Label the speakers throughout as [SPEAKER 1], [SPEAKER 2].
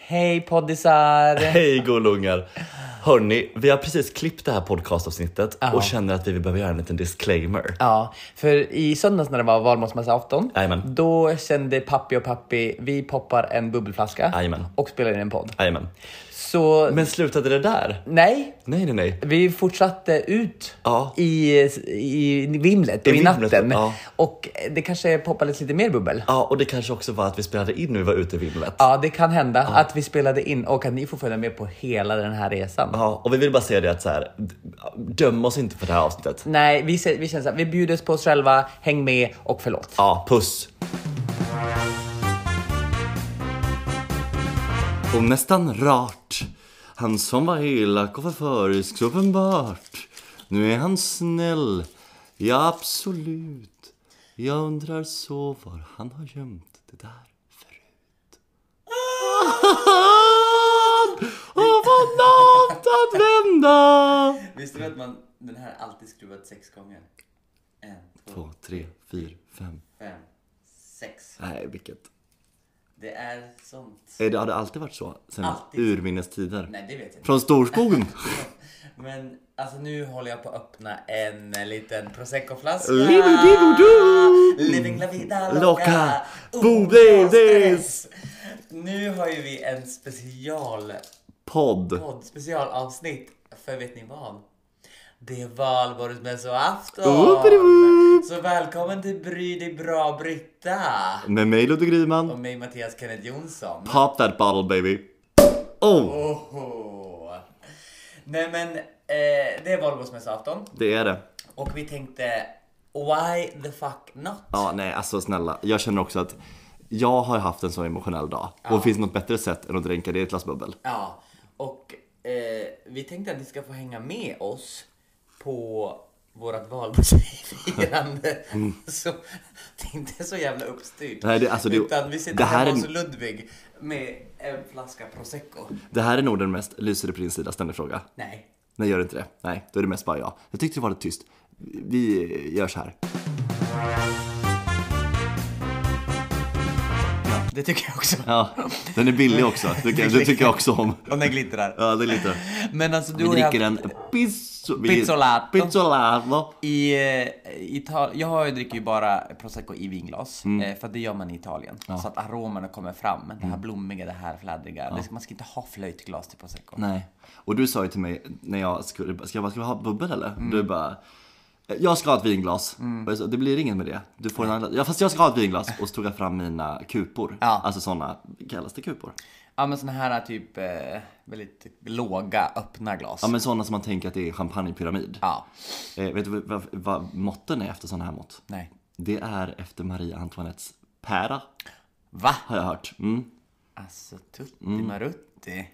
[SPEAKER 1] Hej poddisar!
[SPEAKER 2] Hej golungar! Hörni, vi har precis klippt det här podcastavsnittet och känner att vi behöver göra en liten disclaimer.
[SPEAKER 1] Ja, för i söndags när det var valborgsmässoafton,
[SPEAKER 2] Jajamän.
[SPEAKER 1] då kände pappi och pappi, vi poppar en bubbelflaska
[SPEAKER 2] Jajamän.
[SPEAKER 1] och spelar in en podd.
[SPEAKER 2] Jajamän.
[SPEAKER 1] Så
[SPEAKER 2] Men slutade det där?
[SPEAKER 1] nej,
[SPEAKER 2] Nej, nej, nej.
[SPEAKER 1] vi fortsatte ut
[SPEAKER 2] Ja.
[SPEAKER 1] i, i vimlet och i,
[SPEAKER 2] vimlet,
[SPEAKER 1] natten.
[SPEAKER 2] ja.
[SPEAKER 1] Och det kanske poppades lite mer bubbel.
[SPEAKER 2] Ja, och det kanske också var att vi spelade in när vi var ute i vimlet.
[SPEAKER 1] Ja, det kan hända att vi spelade in och att ni får följa med på hela den här resan.
[SPEAKER 2] Ja, och vi vill bara säga det att så här, d- döm oss inte för det här avsnittet.
[SPEAKER 1] Nej, vi, ser- vi känner så här, vi bjuder på oss själva, häng med och förlåt.
[SPEAKER 2] Ja, puss! Och nästan rart Han som var elak och förförisk så uppenbart Nu är han snäll Ja, absolut Jag undrar så var han har gömt det där förut Han har fått något att vända
[SPEAKER 3] Visste du att man, den här är alltid skruvad sex gånger? En, två,
[SPEAKER 2] Två, tre, fyra, fem
[SPEAKER 3] fem, sex.
[SPEAKER 2] Nej, vilket
[SPEAKER 3] Det är sånt.
[SPEAKER 2] Eh, Det har det alltid varit så sen
[SPEAKER 3] Alltid.
[SPEAKER 2] urminnes tider.
[SPEAKER 3] Nej, det vet jag inte.
[SPEAKER 2] Från storskogen.
[SPEAKER 3] Men alltså nu håller jag på att öppna en liten prosecco-flaska.
[SPEAKER 2] Libidibidu!
[SPEAKER 3] Living la vida
[SPEAKER 2] Loca.
[SPEAKER 3] loca. Un,
[SPEAKER 2] Borde
[SPEAKER 3] dos,
[SPEAKER 2] des.
[SPEAKER 3] tres. Nu har ju vi en special
[SPEAKER 2] Podd.
[SPEAKER 3] podd, specialavsnitt. För vet ni vad? Det är valborgsmässoafton!
[SPEAKER 2] Whoop-a-doo-whoop.
[SPEAKER 3] Så välkommen till Bry dig bra Britta!
[SPEAKER 2] Med mig Ludde
[SPEAKER 3] Och
[SPEAKER 2] Gryman.
[SPEAKER 3] mig Mattias Kenneth Jonsson.
[SPEAKER 2] Pop that bottle baby. Oh,
[SPEAKER 3] Oho. Nej men, eh, det är valborgsmässoafton
[SPEAKER 2] det är det.
[SPEAKER 3] och vi tänkte why the fuck not?
[SPEAKER 2] Ja, nej alltså snälla. Jag känner också att jag har haft en så emotionell dag. Och finns det något bättre sätt än att dränka det i ett glas bubbel?
[SPEAKER 3] Ja, och eh, vi tänkte att ni ska få hänga med oss på vårat valborgsfirande. Så det är inte så jävla uppstyrt.
[SPEAKER 2] Mm. Nej, det- alltså, det-
[SPEAKER 3] Utan vi sitter
[SPEAKER 2] det här
[SPEAKER 3] hemma
[SPEAKER 2] är-
[SPEAKER 3] hos Ludvig med en flaska prosecco.
[SPEAKER 2] Det här är nog den mest lyser det på din sida ständig fråga.
[SPEAKER 3] Nej.
[SPEAKER 2] Nej, gör inte det. Nej, då är det mest bara jag. Jag tyckte det var lite tyst. Vi gör så här.
[SPEAKER 3] Det tycker jag också.
[SPEAKER 2] Ja, den är billig också. Du, kan, du tycker jag också om.
[SPEAKER 3] Och den glittrar.
[SPEAKER 2] Ja, det är lite.
[SPEAKER 3] Men alltså du
[SPEAKER 2] Vi
[SPEAKER 3] och jag-
[SPEAKER 2] dricker en pizzo... vi-
[SPEAKER 3] Pizzolato.
[SPEAKER 2] Pizzolato.
[SPEAKER 3] I eh, Italien, jag har ju- dricker ju bara prosecco i vinglas,
[SPEAKER 2] Mm.
[SPEAKER 3] eh, för det gör man i Italien. Så att aromerna kommer fram, det här blommiga, det här fladdriga. Det ska, man ska inte ha flöjtglas till prosecco.
[SPEAKER 2] Nej. Och du sa ju till mig när jag skulle, ska jag bara, ska vi ha bubbel eller?
[SPEAKER 3] Mm.
[SPEAKER 2] Du bara, jag ska ha ett vinglas. Och jag sa, det blir ingen med det. Du får en annan, ja, fast jag ska ha ett vinglas. Och så tog jag fram mina kupor.
[SPEAKER 3] Ja.
[SPEAKER 2] Alltså sådana, kallas det kupor?
[SPEAKER 3] Ja men såna här typ eh, väldigt låga, öppna glas.
[SPEAKER 2] Ja men sådana som man tänker att det är champagnepyramid.
[SPEAKER 3] Ja.
[SPEAKER 2] Eh, vet du vad, vad, vad måtten är efter sådana här mått?
[SPEAKER 3] Nej.
[SPEAKER 2] Det är efter Marie Antoinettes pära,
[SPEAKER 3] Va?
[SPEAKER 2] har jag hört. Mm.
[SPEAKER 3] Alltså tutti marutti.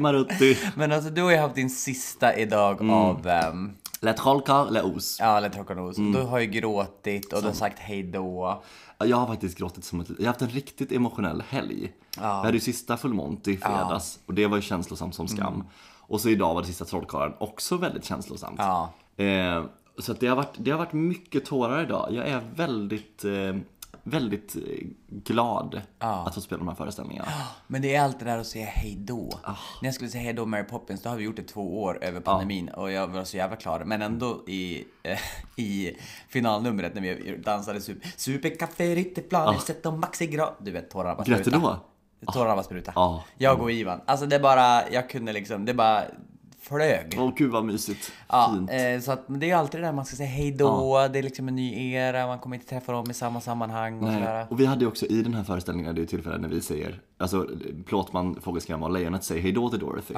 [SPEAKER 2] marutti,
[SPEAKER 3] Men alltså du har ju haft din sista idag
[SPEAKER 2] Mm.
[SPEAKER 3] av ehm,
[SPEAKER 2] la trollkarl, la os.
[SPEAKER 3] Ja, eller Trocanos.
[SPEAKER 2] Mm.
[SPEAKER 3] Du har ju gråtit och du har sagt hej då.
[SPEAKER 2] Jag har faktiskt gråtit som ett Jag har haft en riktigt emotionell helg. Jag hade ju sista full monty i fredags och det var ju känslosamt som skam.
[SPEAKER 3] Mm.
[SPEAKER 2] Och så idag var det sista trollkarlen också väldigt känslosamt.
[SPEAKER 3] Ja.
[SPEAKER 2] Eh, så att det, har varit, det har varit mycket tårar idag. Jag är väldigt, eh, väldigt eh, glad att få spela de här föreställningarna.
[SPEAKER 3] Men det är alltid det där att säga hej då.
[SPEAKER 2] Ah.
[SPEAKER 3] När jag skulle säga hej då Mary Poppins, då har vi gjort det två år över pandemin
[SPEAKER 2] Ah.
[SPEAKER 3] och jag var så jävla klar. Men ändå i, eh, i finalnumret när vi dansade super, supercafé, Ritterplan,
[SPEAKER 2] Ah.
[SPEAKER 3] oh. sett och Maxi Gra... Du vet, tårarna bara
[SPEAKER 2] Grät du
[SPEAKER 3] spruta.
[SPEAKER 2] då?
[SPEAKER 3] Tårarna bara spruta.
[SPEAKER 2] Ja.
[SPEAKER 3] Jag och Ivan. Alltså det bara, jag kunde liksom, det bara flög.
[SPEAKER 2] Åh gud vad mysigt.
[SPEAKER 3] Ja,
[SPEAKER 2] Ah, Fint. Ah.
[SPEAKER 3] eh, så att, men det är ju alltid det där man ska säga hej då, det är liksom en ny era, man kommer inte träffa dem i samma sammanhang och
[SPEAKER 2] Nej.
[SPEAKER 3] sådär.
[SPEAKER 2] Och vi hade ju också i den här föreställningen, det är ju tillfällen när vi säger, alltså Plåtman, Fågelskrämma och Lejonet säger hejdå till Dorothy.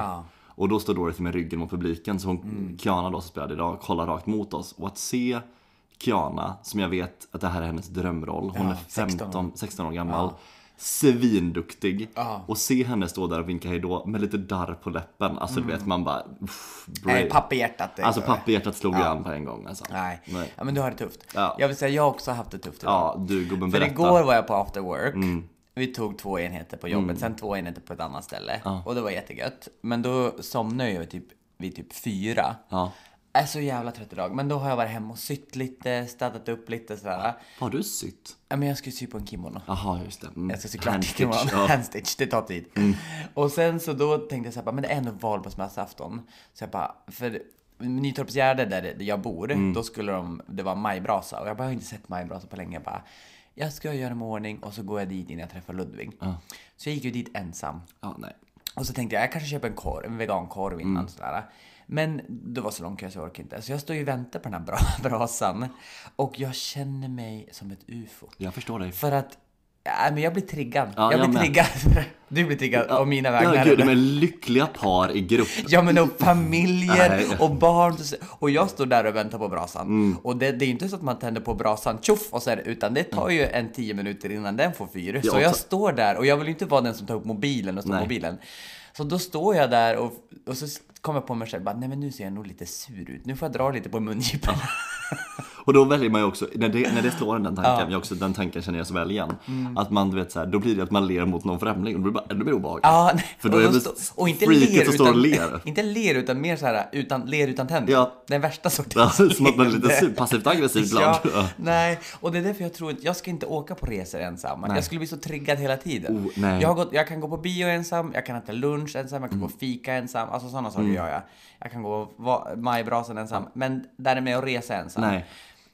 [SPEAKER 2] Och då står Dorothy med ryggen mot publiken, så hon,
[SPEAKER 3] Mm.
[SPEAKER 2] Kiana då som spelade idag, kollar rakt mot oss. Och att se Kiana, som jag vet att det här är hennes drömroll, hon är 15, 16 år gammal, svinduktig. Och se henne stå där och vinka hejdå med lite darr på läppen, alltså du vet man bara... Uff, brave.
[SPEAKER 3] Mm. Nej, papperhjärtat. det
[SPEAKER 2] alltså
[SPEAKER 3] gör det.
[SPEAKER 2] papperhjärtat slog ju an på en gång alltså.
[SPEAKER 3] Nej.
[SPEAKER 2] Nej.
[SPEAKER 3] Ja, men du har det tufft.
[SPEAKER 2] Ja.
[SPEAKER 3] Jag vill säga, jag har också haft det tufft idag.
[SPEAKER 2] Ja, du gubben
[SPEAKER 3] För
[SPEAKER 2] berätta. Mm.
[SPEAKER 3] igår var jag på after work. Vi tog två enheter på jobbet, sen två enheter på ett annat ställe. Och det var jättegött. Men då somnade jag typ vid typ fyra.
[SPEAKER 2] Ja.
[SPEAKER 3] är så jävla trött idag. Men då har jag varit hemma och sytt lite, städat upp lite sådär.
[SPEAKER 2] Har du sytt?
[SPEAKER 3] Ja, men jag ska ju sy på en kimono.
[SPEAKER 2] Jaha, just det. Mm.
[SPEAKER 3] Jag ska sy klart
[SPEAKER 2] Handstitch,
[SPEAKER 3] imorgon.
[SPEAKER 2] ja. Mm.
[SPEAKER 3] Handstitch, det tar tid. Och sen så då tänkte jag så här, bara, men det är ändå valborgsmässoafton. Så jag bara, för Nytorpsgärde där det- där jag bor,
[SPEAKER 2] Mm.
[SPEAKER 3] då skulle de, det var majbrasa. Och jag bara, jag har inte sett majbrasa på länge. Jag bara, jag ska göra mig i ordning och så går jag dit innan jag träffar Ludvig. Så jag gick ju dit ensam.
[SPEAKER 2] Ja, nej.
[SPEAKER 3] Och så tänkte jag, jag kanske köper en korv, en vegankorv innan
[SPEAKER 2] Mm.
[SPEAKER 3] sådär. Men det var så lång kö så jag orkade inte. Så jag står ju och väntar på den här bra- brasan. Och jag känner mig som ett ufo.
[SPEAKER 2] Jag förstår dig.
[SPEAKER 3] För att, nej men jag blir triggad.
[SPEAKER 2] Ja,
[SPEAKER 3] jag
[SPEAKER 2] jag
[SPEAKER 3] blir
[SPEAKER 2] med.
[SPEAKER 3] triggad. Du blir triggad av mina
[SPEAKER 2] Ja,
[SPEAKER 3] vägnar.
[SPEAKER 2] gud, de är lyckliga par i grupp.
[SPEAKER 3] Ja men och familjer
[SPEAKER 2] Nej. Mm.
[SPEAKER 3] och barn och jag står där och väntar på brasan. Och det, det är inte så att man tänder på brasan tjoff och sen utan det tar ju en tio minuter innan den får fyr.
[SPEAKER 2] Ja,
[SPEAKER 3] Så
[SPEAKER 2] och
[SPEAKER 3] jag
[SPEAKER 2] ta-
[SPEAKER 3] står där och jag vill ju inte vara den som tar upp mobilen och står
[SPEAKER 2] Nej.
[SPEAKER 3] på mobilen. Så då står jag där och, och så kommer jag på mig själv bara, nej men nu ser jag nog lite sur ut. Nu får jag dra lite på mungipan.
[SPEAKER 2] Och då väljer man ju också, när det, när det slår en den tanken, jag också, den tanken känner jag så väl igen.
[SPEAKER 3] Mm.
[SPEAKER 2] Att man, du vet så här, då blir det att man ler mot någon främling och då blir det bara ännu mer obehagligt.
[SPEAKER 3] Ja, nej.
[SPEAKER 2] För då
[SPEAKER 3] och
[SPEAKER 2] är
[SPEAKER 3] så
[SPEAKER 2] det
[SPEAKER 3] stå- och inte
[SPEAKER 2] freaket
[SPEAKER 3] ler,
[SPEAKER 2] som står och
[SPEAKER 3] utan-
[SPEAKER 2] ler.
[SPEAKER 3] Inte ler utan mer så här utan, ler utan tänder.
[SPEAKER 2] Ja.
[SPEAKER 3] Den värsta sorten.
[SPEAKER 2] Ja, Alltså, Som att man är lite
[SPEAKER 3] leende.
[SPEAKER 2] sur- passivt aggressiv ibland.
[SPEAKER 3] Ja, nej, och det är därför jag tror att jag ska inte åka på resor ensam. Jag skulle bli så triggad hela tiden.
[SPEAKER 2] Oh, nej. Mm.
[SPEAKER 3] Jag, har gått, jag kan gå på bio ensam, jag kan äta lunch ensam, jag kan gå och fika ensam. Alltså sådana saker gör jag. Jag kan gå va- majbrasan ensam. Men där är med att resa ensam.
[SPEAKER 2] Nej.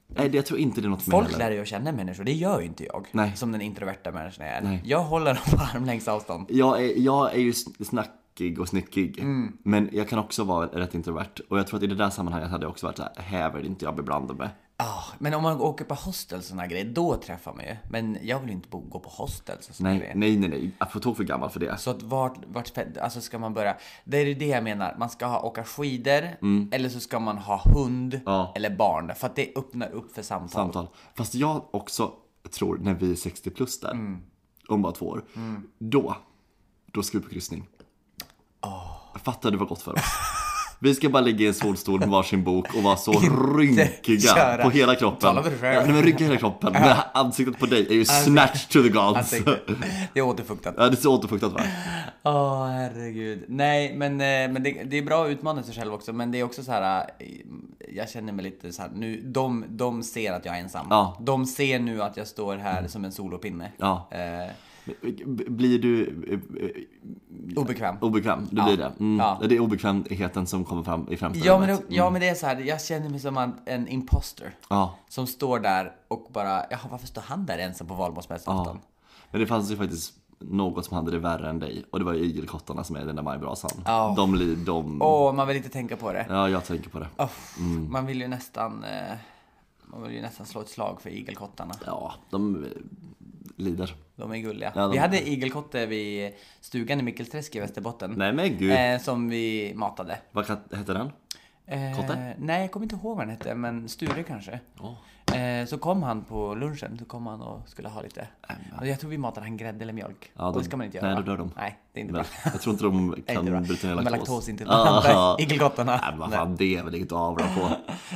[SPEAKER 2] Nej, det- jag tror inte det är något för mig
[SPEAKER 3] Folk
[SPEAKER 2] heller.
[SPEAKER 3] lär ju känna människor, det gör ju inte jag.
[SPEAKER 2] Nej.
[SPEAKER 3] Som den introverta människan jag är.
[SPEAKER 2] Nej.
[SPEAKER 3] Jag håller dem på armlängds avstånd.
[SPEAKER 2] jag är, jag är ju sn- snackig och snyckig.
[SPEAKER 3] Mm.
[SPEAKER 2] Men jag kan också vara rätt introvert. Och jag tror att i det där sammanhanget hade jag också varit så här, häver inte jag beblandar mig.
[SPEAKER 3] Ah, men om man åker på hostel och såna grejer, då träffar man ju. Men jag vill ju inte bo, gå på hostel och såna
[SPEAKER 2] Nej,
[SPEAKER 3] grejer.
[SPEAKER 2] nej, nej, nej. Jag får tog för gammal för det.
[SPEAKER 3] Så att vart, vart fe- alltså ska man börja? Det är ju det jag menar. Man ska ha, åka skidor eller så ska man ha hund
[SPEAKER 2] Mm. Ja.
[SPEAKER 3] eller barn. För att det öppnar upp för samtal.
[SPEAKER 2] Samtal. Fast jag också tror, när vi är 60 plus där,
[SPEAKER 3] Mm.
[SPEAKER 2] om bara två år, då, då ska vi på kryssning. Fattar du vad gott för oss? Vi ska bara ligga i en solstol med varsin bok och vara så rynkiga
[SPEAKER 3] köra.
[SPEAKER 2] på hela kroppen.
[SPEAKER 3] Tala för dig själv.
[SPEAKER 2] Ja, nej, men rynka hela kroppen. Men ansiktet på dig är ju snatched to the gods.
[SPEAKER 3] Tänkte- Det är återfuktat.
[SPEAKER 2] Ja, det är så återfuktat va?
[SPEAKER 3] Åh herregud. Nej men, eh, men det, det är bra att utmana sig själv också. Men det är också så här. eh, Jag känner mig lite så här. Nu, de, de ser att jag är ensam.
[SPEAKER 2] Ja.
[SPEAKER 3] De ser nu att jag står här som en solopinne.
[SPEAKER 2] Ja.
[SPEAKER 3] Eh,
[SPEAKER 2] Blir du eh,
[SPEAKER 3] obekväm.
[SPEAKER 2] obekväm? Du blir det. Mm.
[SPEAKER 3] Ja.
[SPEAKER 2] Det är obekvämheten som kommer fram i främsta
[SPEAKER 3] ja, men,
[SPEAKER 2] rummet.
[SPEAKER 3] det- ja men det är så här. Jag känner mig som en- en imposter.
[SPEAKER 2] Ja.
[SPEAKER 3] Som står där och bara, jaha varför står han där ensam på valborgsmässoafton?
[SPEAKER 2] Men det fanns ju faktiskt något som hade det värre än dig och det var ju igelkottarna som är i den där majbrasan.
[SPEAKER 3] Ja.
[SPEAKER 2] De, li- de...
[SPEAKER 3] Åh, man vill inte tänka på det.
[SPEAKER 2] Ja, jag tänker på det.
[SPEAKER 3] Åh,
[SPEAKER 2] Mm.
[SPEAKER 3] Man vill ju nästan, eh, man vill ju nästan slå ett slag för igelkottarna.
[SPEAKER 2] Ja, de eh, lider.
[SPEAKER 3] De är gulliga.
[SPEAKER 2] Ja, de-
[SPEAKER 3] Vi hade igelkotte vid stugan i Mikkelträsk i Västerbotten.
[SPEAKER 2] Nej men gud,
[SPEAKER 3] Eh, som vi matade.
[SPEAKER 2] vad kat- hette den?
[SPEAKER 3] Eh,
[SPEAKER 2] Kotte?
[SPEAKER 3] Nej, jag kommer inte ihåg vad han hette, men Sture kanske. Eh, så kom han på lunchen, så kom han och skulle ha lite. Och jag tror vi matade han grädde eller mjölk.
[SPEAKER 2] Äh, Ja,
[SPEAKER 3] och
[SPEAKER 2] då-
[SPEAKER 3] det ska man inte göra.
[SPEAKER 2] nej,
[SPEAKER 3] va?
[SPEAKER 2] då dör de.
[SPEAKER 3] Nej, det är inte
[SPEAKER 2] Men,
[SPEAKER 3] bra.
[SPEAKER 2] jag tror inte de
[SPEAKER 3] Nej,
[SPEAKER 2] kan
[SPEAKER 3] inte bra.
[SPEAKER 2] brännbryta ner
[SPEAKER 3] De är
[SPEAKER 2] laktos.
[SPEAKER 3] laktosintoleranta,
[SPEAKER 2] Ah.
[SPEAKER 3] igelkottarna.
[SPEAKER 2] Nej men vad fan, det är väl inget att avla på.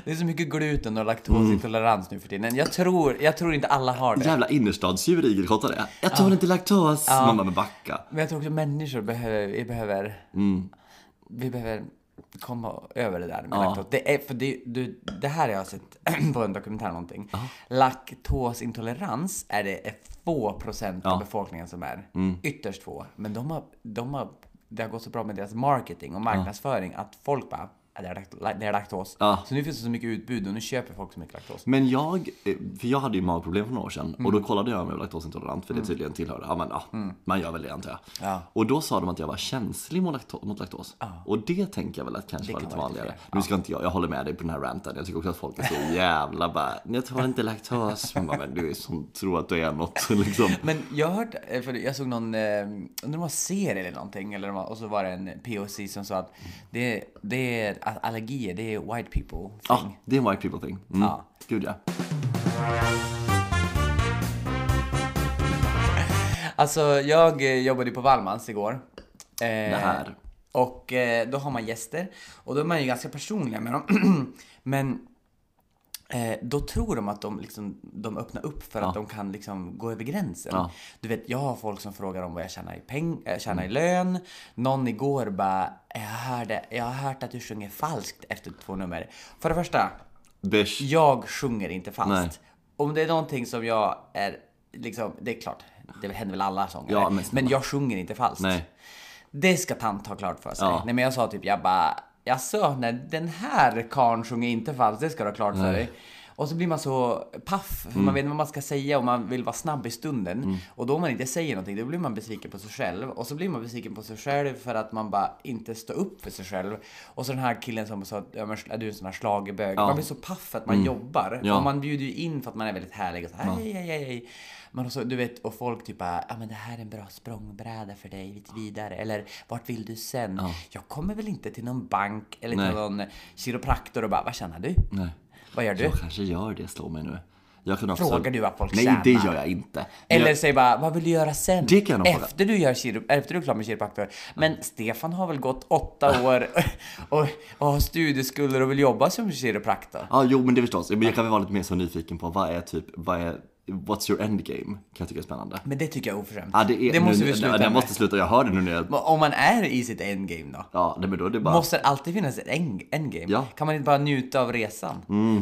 [SPEAKER 3] Det är så mycket gluten och laktosintolerans nu för tiden. Jag tror, jag tror inte alla har det.
[SPEAKER 2] Jävla innerstadsdjur igelkottar är. Jag tål inte laktos. Mamma men backa.
[SPEAKER 3] Men jag tror också människor behöver, vi behöver, vi behöver komma över det där med
[SPEAKER 2] Mm. Ja.
[SPEAKER 3] laktos. Det, är, för det, du, det här har jag sett på en dokumentär eller någonting. Laktosintolerans är det ett få procent av befolkningen som är.
[SPEAKER 2] Mm.
[SPEAKER 3] Ytterst få. Men de har, de har, det har gått så bra med deras marketing och marknadsföring att folk bara "Ja, det är lakt- det är laktos.
[SPEAKER 2] Ja.
[SPEAKER 3] Så nu finns det så mycket utbud och nu köper folk så mycket laktos.
[SPEAKER 2] Men jag, eh, för jag hade ju magproblem för några år sedan och då kollade jag om jag var laktosintolerant för det tydligen tillhör, ja men ja, man gör väl det antar jag.
[SPEAKER 3] Mm. Ja.
[SPEAKER 2] Och då sa de att jag var känslig mot, lakto- mot laktos. Och det tänker jag väl att kanske var
[SPEAKER 3] kan
[SPEAKER 2] lite
[SPEAKER 3] vara lite
[SPEAKER 2] vanligare.
[SPEAKER 3] fler.
[SPEAKER 2] Nu ska inte jag, jag håller med dig på den här ranten. Jag tycker också att folk är så jävla bara, jag tar inte laktos. Man bara, men du är som tror att du är något liksom.
[SPEAKER 3] Men jag har hört, eh, för jag såg någon, eh, undrar om det var serie eller någonting, eller om det var- och så var det en POC som sa att det, det är att allergier, det är white people
[SPEAKER 2] Ja,
[SPEAKER 3] thing.
[SPEAKER 2] det är en white people thing. Mm.
[SPEAKER 3] Ja.
[SPEAKER 2] Gud ja.
[SPEAKER 3] Alltså jag eh, jobbade ju på Wallmans igår. Eh,
[SPEAKER 2] Det här.
[SPEAKER 3] Och eh, då har man gäster och då är man ju ganska personliga med dem. Men Eh, då tror de att de, liksom, de öppnar upp för
[SPEAKER 2] Ja.
[SPEAKER 3] att de kan liksom gå över gränsen.
[SPEAKER 2] Ja. Mm.
[SPEAKER 3] Du vet, jag har folk som frågar om vad jag tjänar i, peng- äh, tjänar i lön. Någon igår bara, jag, hörde, jag har hört att du sjunger falskt efter två nummer. För det första,
[SPEAKER 2] Bish.
[SPEAKER 3] jag sjunger inte falskt.
[SPEAKER 2] Nej.
[SPEAKER 3] Om det är någonting som jag är, liksom, det är klart, det händer väl alla sångare.
[SPEAKER 2] Ja, men
[SPEAKER 3] men,
[SPEAKER 2] snälla.
[SPEAKER 3] jag sjunger inte falskt.
[SPEAKER 2] Nej.
[SPEAKER 3] Det ska tant ha klart för sig.
[SPEAKER 2] Ja.
[SPEAKER 3] Nej men jag sa typ, jag bara, jaså, nej den här karln sjunger inte falskt, det ska du ha klart för dig. Och så blir man så paff,
[SPEAKER 2] Mm.
[SPEAKER 3] för man vet inte vad man ska säga och man vill vara snabb i stunden. Och då om man inte säger någonting, då blir man besviken på sig själv. Och så blir man besviken på sig själv för att man bara inte står upp för sig själv. Och så den här killen som sa att ja, men, är du en sån här schlagerbög? Man blir så paff att man jobbar.
[SPEAKER 2] Mm. Ja.
[SPEAKER 3] Och man bjuder ju in för att man är väldigt härlig och så här, hej, hej, hej, hej. Man också, du vet, och folk typ bara, ja men det här är en bra språngbräda för dig lite vidare. Eller vart vill du sen? Jag kommer väl inte till någon bank eller
[SPEAKER 2] Nej.
[SPEAKER 3] till någon kiropraktor och bara, vad tjänar du?
[SPEAKER 2] Nej.
[SPEAKER 3] Vad gör du?
[SPEAKER 2] Jag kanske gör det, slå mig nu. Jag kan också...
[SPEAKER 3] Frågar du vad folk
[SPEAKER 2] Nej,
[SPEAKER 3] tjänar?
[SPEAKER 2] det gör jag inte. Men
[SPEAKER 3] Eller
[SPEAKER 2] jag...
[SPEAKER 3] säg bara, vad vill du göra sen?
[SPEAKER 2] Det kan jag nog fråga.
[SPEAKER 3] efter, du gör kiro, efter du är klar med kiropraktor. Men Stefan har väl gått åtta år och, och har studieskulder och vill jobba som kiropraktor?
[SPEAKER 2] Ja, jo, men det förstås. Men jag kan väl vara lite mer så nyfiken på vad är typ, vad är, what's your endgame? Kan jag tycka är spännande.
[SPEAKER 3] Men det tycker jag är oförskämt.
[SPEAKER 2] Ja, det, är,
[SPEAKER 3] måste
[SPEAKER 2] nu,
[SPEAKER 3] vi sluta
[SPEAKER 2] det,
[SPEAKER 3] med.
[SPEAKER 2] måste sluta, jag hör det nu när jag...
[SPEAKER 3] Men Om man är i sitt endgame då?
[SPEAKER 2] Ja, nej, men då är det bara...
[SPEAKER 3] Måste det alltid finnas ett en- endgame?
[SPEAKER 2] Ja. Mm.
[SPEAKER 3] Kan man inte bara njuta av resan?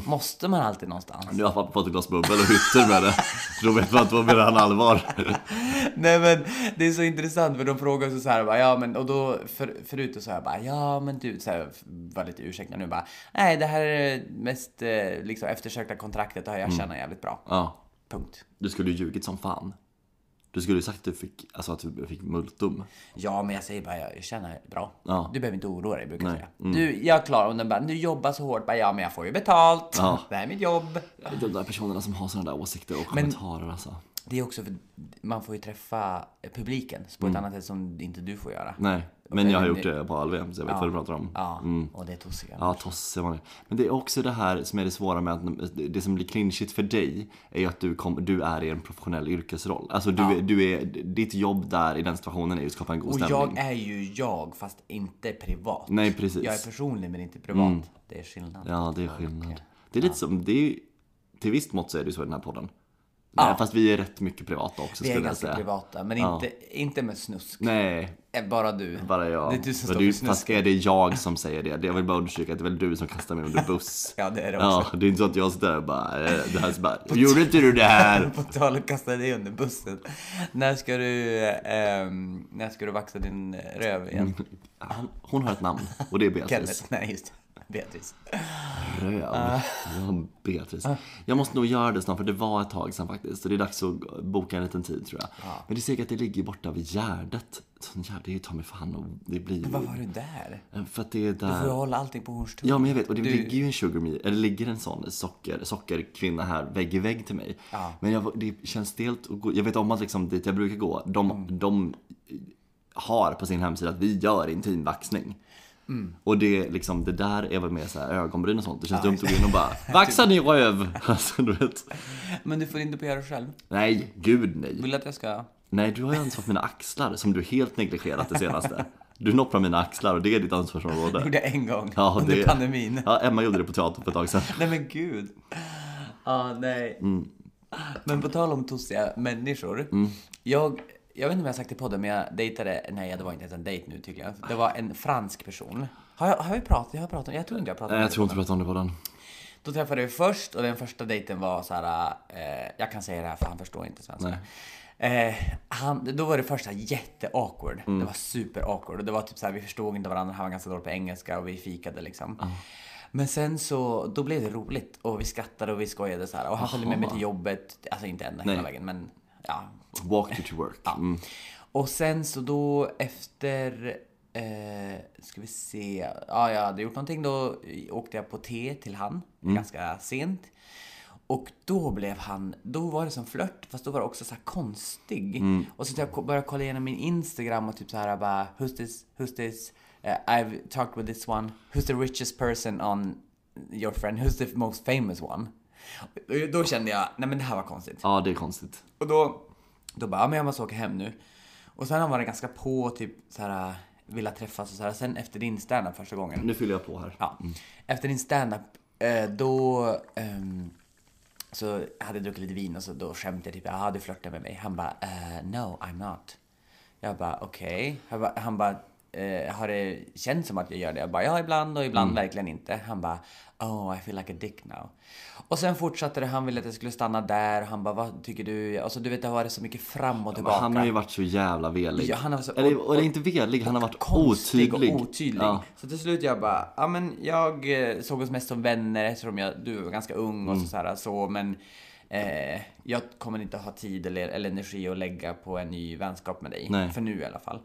[SPEAKER 3] Måste man alltid någonstans?
[SPEAKER 2] Nu har pappa fått ett glas bubbel och hytter med det. Så Då vet man inte vad menar han allvar.
[SPEAKER 3] Nej men det är så intressant för de frågar så, så här bara, ja men och då för, förut så sa jag bara ja men du så här, var lite ursäkta nu bara nej det här är det mest eh, liksom eftersökta kontraktet och
[SPEAKER 2] Mm.
[SPEAKER 3] jag tjänar jävligt bra.
[SPEAKER 2] Ja,
[SPEAKER 3] Punkt.
[SPEAKER 2] du skulle ju ljugit som fan. Du skulle ju sagt att du fick, alltså att du fick multum.
[SPEAKER 3] Ja men jag säger bara jag tjänar bra.
[SPEAKER 2] Ja. Mm.
[SPEAKER 3] Du behöver inte oroa dig brukar jag säga. Du jag klarar om den bara du jobbar så hårt bara ja men jag får ju betalt.
[SPEAKER 2] Ja.
[SPEAKER 3] Det här är mitt jobb.
[SPEAKER 2] De där personerna som har sådana där åsikter och kommentarer alltså.
[SPEAKER 3] Det är också för man får ju träffa publiken på
[SPEAKER 2] Mm.
[SPEAKER 3] ett annat sätt som inte du får göra.
[SPEAKER 2] Nej, men jag har gjort det på all så jag vet vad du pratar om.
[SPEAKER 3] Ja, och det är tossiga.
[SPEAKER 2] Mm. Ja, tosse var det. Men det är också det här som är det svåra med att det som blir clinchigt för dig är ju att du, kom, du är i en professionell yrkesroll. Alltså du, är- du är, ditt jobb där i den situationen är ju att skapa en god
[SPEAKER 3] Och
[SPEAKER 2] stämning.
[SPEAKER 3] jag är ju jag fast inte privat.
[SPEAKER 2] Nej, precis. Mm.
[SPEAKER 3] Jag är personlig men inte privat. Det är skillnad.
[SPEAKER 2] Ja, det är skillnad. Det är lite som, det är, ju- till visst mått så är det ju så i den här podden. Nej, fast vi är rätt mycket privata också
[SPEAKER 3] Vi är
[SPEAKER 2] skulle jag
[SPEAKER 3] ganska
[SPEAKER 2] säga.
[SPEAKER 3] privata men inte, inte med snusk.
[SPEAKER 2] Nej,
[SPEAKER 3] Eh, Bara du.
[SPEAKER 2] bara jag.
[SPEAKER 3] Det är du som står
[SPEAKER 2] Men det är ju-
[SPEAKER 3] för snusk.
[SPEAKER 2] Fast är det jag som säger det? Jag vill bara understryka att det är väl du som kastar mig under buss.
[SPEAKER 3] Ja det är det också.
[SPEAKER 2] Ja, det är inte så att jag sitter där och bara, eh, det här så bara, gjorde inte du det här?
[SPEAKER 3] På tal om att kasta dig under bussen. När ska du, ehm, när ska du vaxa din röv
[SPEAKER 2] Mm,
[SPEAKER 3] igen?
[SPEAKER 2] Han, hon har ett namn och det är Beatrice.
[SPEAKER 3] Kenneth? Nej just det. Beatrice.
[SPEAKER 2] Röv. Ja, Beatrice. Jag måste nog göra det snart för det var ett tag sedan faktiskt. Så det är dags att boka en liten tid tror jag. Men det är säkert att det ligger borta vid Gärdet. Så Gärdet är ju ta mig fan och det blir
[SPEAKER 3] Vad
[SPEAKER 2] ju...
[SPEAKER 3] var du där?
[SPEAKER 2] För att det är
[SPEAKER 3] Får jag
[SPEAKER 2] där...
[SPEAKER 3] hålla allting på Hornstull?
[SPEAKER 2] Ja men jag vet, och det ligger ju en sugar me, eller det ligger en sån socker, sockerkvinna här vägg i vägg till mig.
[SPEAKER 3] Ja.
[SPEAKER 2] Men jag, det känns stelt att gå, jag vet om att liksom dit jag brukar gå, de,
[SPEAKER 3] Mm.
[SPEAKER 2] de har på sin hemsida att vi gör intimvaxning.
[SPEAKER 3] Mm.
[SPEAKER 2] Och det, liksom, det där är väl mer så här ögonbryn och sånt. Det känns dumt att gå in och bara Vaxa
[SPEAKER 3] Typ.
[SPEAKER 2] din röv! Alltså, du vet.
[SPEAKER 3] Men du får inte på göra det själv.
[SPEAKER 2] Nej, gud nej.
[SPEAKER 3] Vill du att jag ska?
[SPEAKER 2] Nej, du har ju ansvar för mina axlar som du helt negligerat det senaste. Du noppar mina axlar och det är ditt ansvarsområde.
[SPEAKER 3] Gjorde jag en gång
[SPEAKER 2] Ja,
[SPEAKER 3] under
[SPEAKER 2] det-
[SPEAKER 3] pandemin.
[SPEAKER 2] Ja, Emma gjorde det på teatern för ett tag sedan.
[SPEAKER 3] Nej men gud. Ja, nej.
[SPEAKER 2] Mm.
[SPEAKER 3] Men på tal om tossiga människor. Jag, jag vet inte om jag har sagt det i podden, men jag dejtade, nej det var inte ens en dejt nu tycker jag. Det var en fransk person. Har jag, har jag pratat? Jag har pratat om, jag tror inte jag har pratat
[SPEAKER 2] Nej,
[SPEAKER 3] om
[SPEAKER 2] Eh, jag
[SPEAKER 3] det.
[SPEAKER 2] tror inte du pratar om det på den.
[SPEAKER 3] Då träffade vi först och den första dejten var så här. Eh, jag kan säga det här för han förstår inte svenska. Eh, han, då var det första jätte awkward. Det var super awkward. Och det var typ så här, vi förstod inte varandra. Han var ganska dålig på engelska och vi fikade liksom. Men sen så, då blev det roligt och vi skrattade och vi skojade så här. Och han följde med mig till jobbet. Alltså inte ända hela
[SPEAKER 2] Nej.
[SPEAKER 3] vägen men ja,
[SPEAKER 2] Walk you to work. Mm.
[SPEAKER 3] och sen så då efter, eh, ska vi se, ja jag hade gjort någonting då åkte jag på te till han ganska sent. Och då blev han, då var det som flört fast då var det också så här konstig. Och så jag ko- började kolla igenom min Instagram och typ så här bara who's this, who's this, Eh, I've talked with this one, who's the richest person on your friend, who's the most famous one. Och Då kände jag, nej men det här var konstigt.
[SPEAKER 2] Ja, det är konstigt.
[SPEAKER 3] Och då, då bara, ja, men jag måste åka hem nu. Och sen har han varit ganska på, typ så här, vilja träffas och så här. Sen efter din standup första gången.
[SPEAKER 2] Nu fyller jag på här.
[SPEAKER 3] Ja. Efter din standup eh, då ehm, så hade jag druckit lite vin och så då skämtade jag typ, jaha du flörtar med mig. Han bara, eh, no I'm not. Jag bara, okej. Han bara- Han bara, eh, har det känts som att jag gör det? Jag bara, ja ibland och
[SPEAKER 2] Mm.
[SPEAKER 3] ibland verkligen inte. Han bara, oh I feel like a dick now. Och sen fortsatte det, han ville att jag skulle stanna där. Han bara, vad tycker du? Alltså du vet det har varit så mycket fram och tillbaka.
[SPEAKER 2] Han har ju varit så jävla velig.
[SPEAKER 3] Ja, han har så-
[SPEAKER 2] eller,
[SPEAKER 3] och-
[SPEAKER 2] eller inte velig, han har varit
[SPEAKER 3] konstig
[SPEAKER 2] otydlig.
[SPEAKER 3] och otydlig.
[SPEAKER 2] Ja.
[SPEAKER 3] Så till slut jag bara, ja men jag eh, såg oss mest som vänner eftersom jag, du var ganska ung
[SPEAKER 2] Mm.
[SPEAKER 3] och så, så, här, så men eh, jag kommer inte ha tid eller, eller energi att lägga på en ny vänskap med dig.
[SPEAKER 2] Nej.
[SPEAKER 3] För nu i alla fall.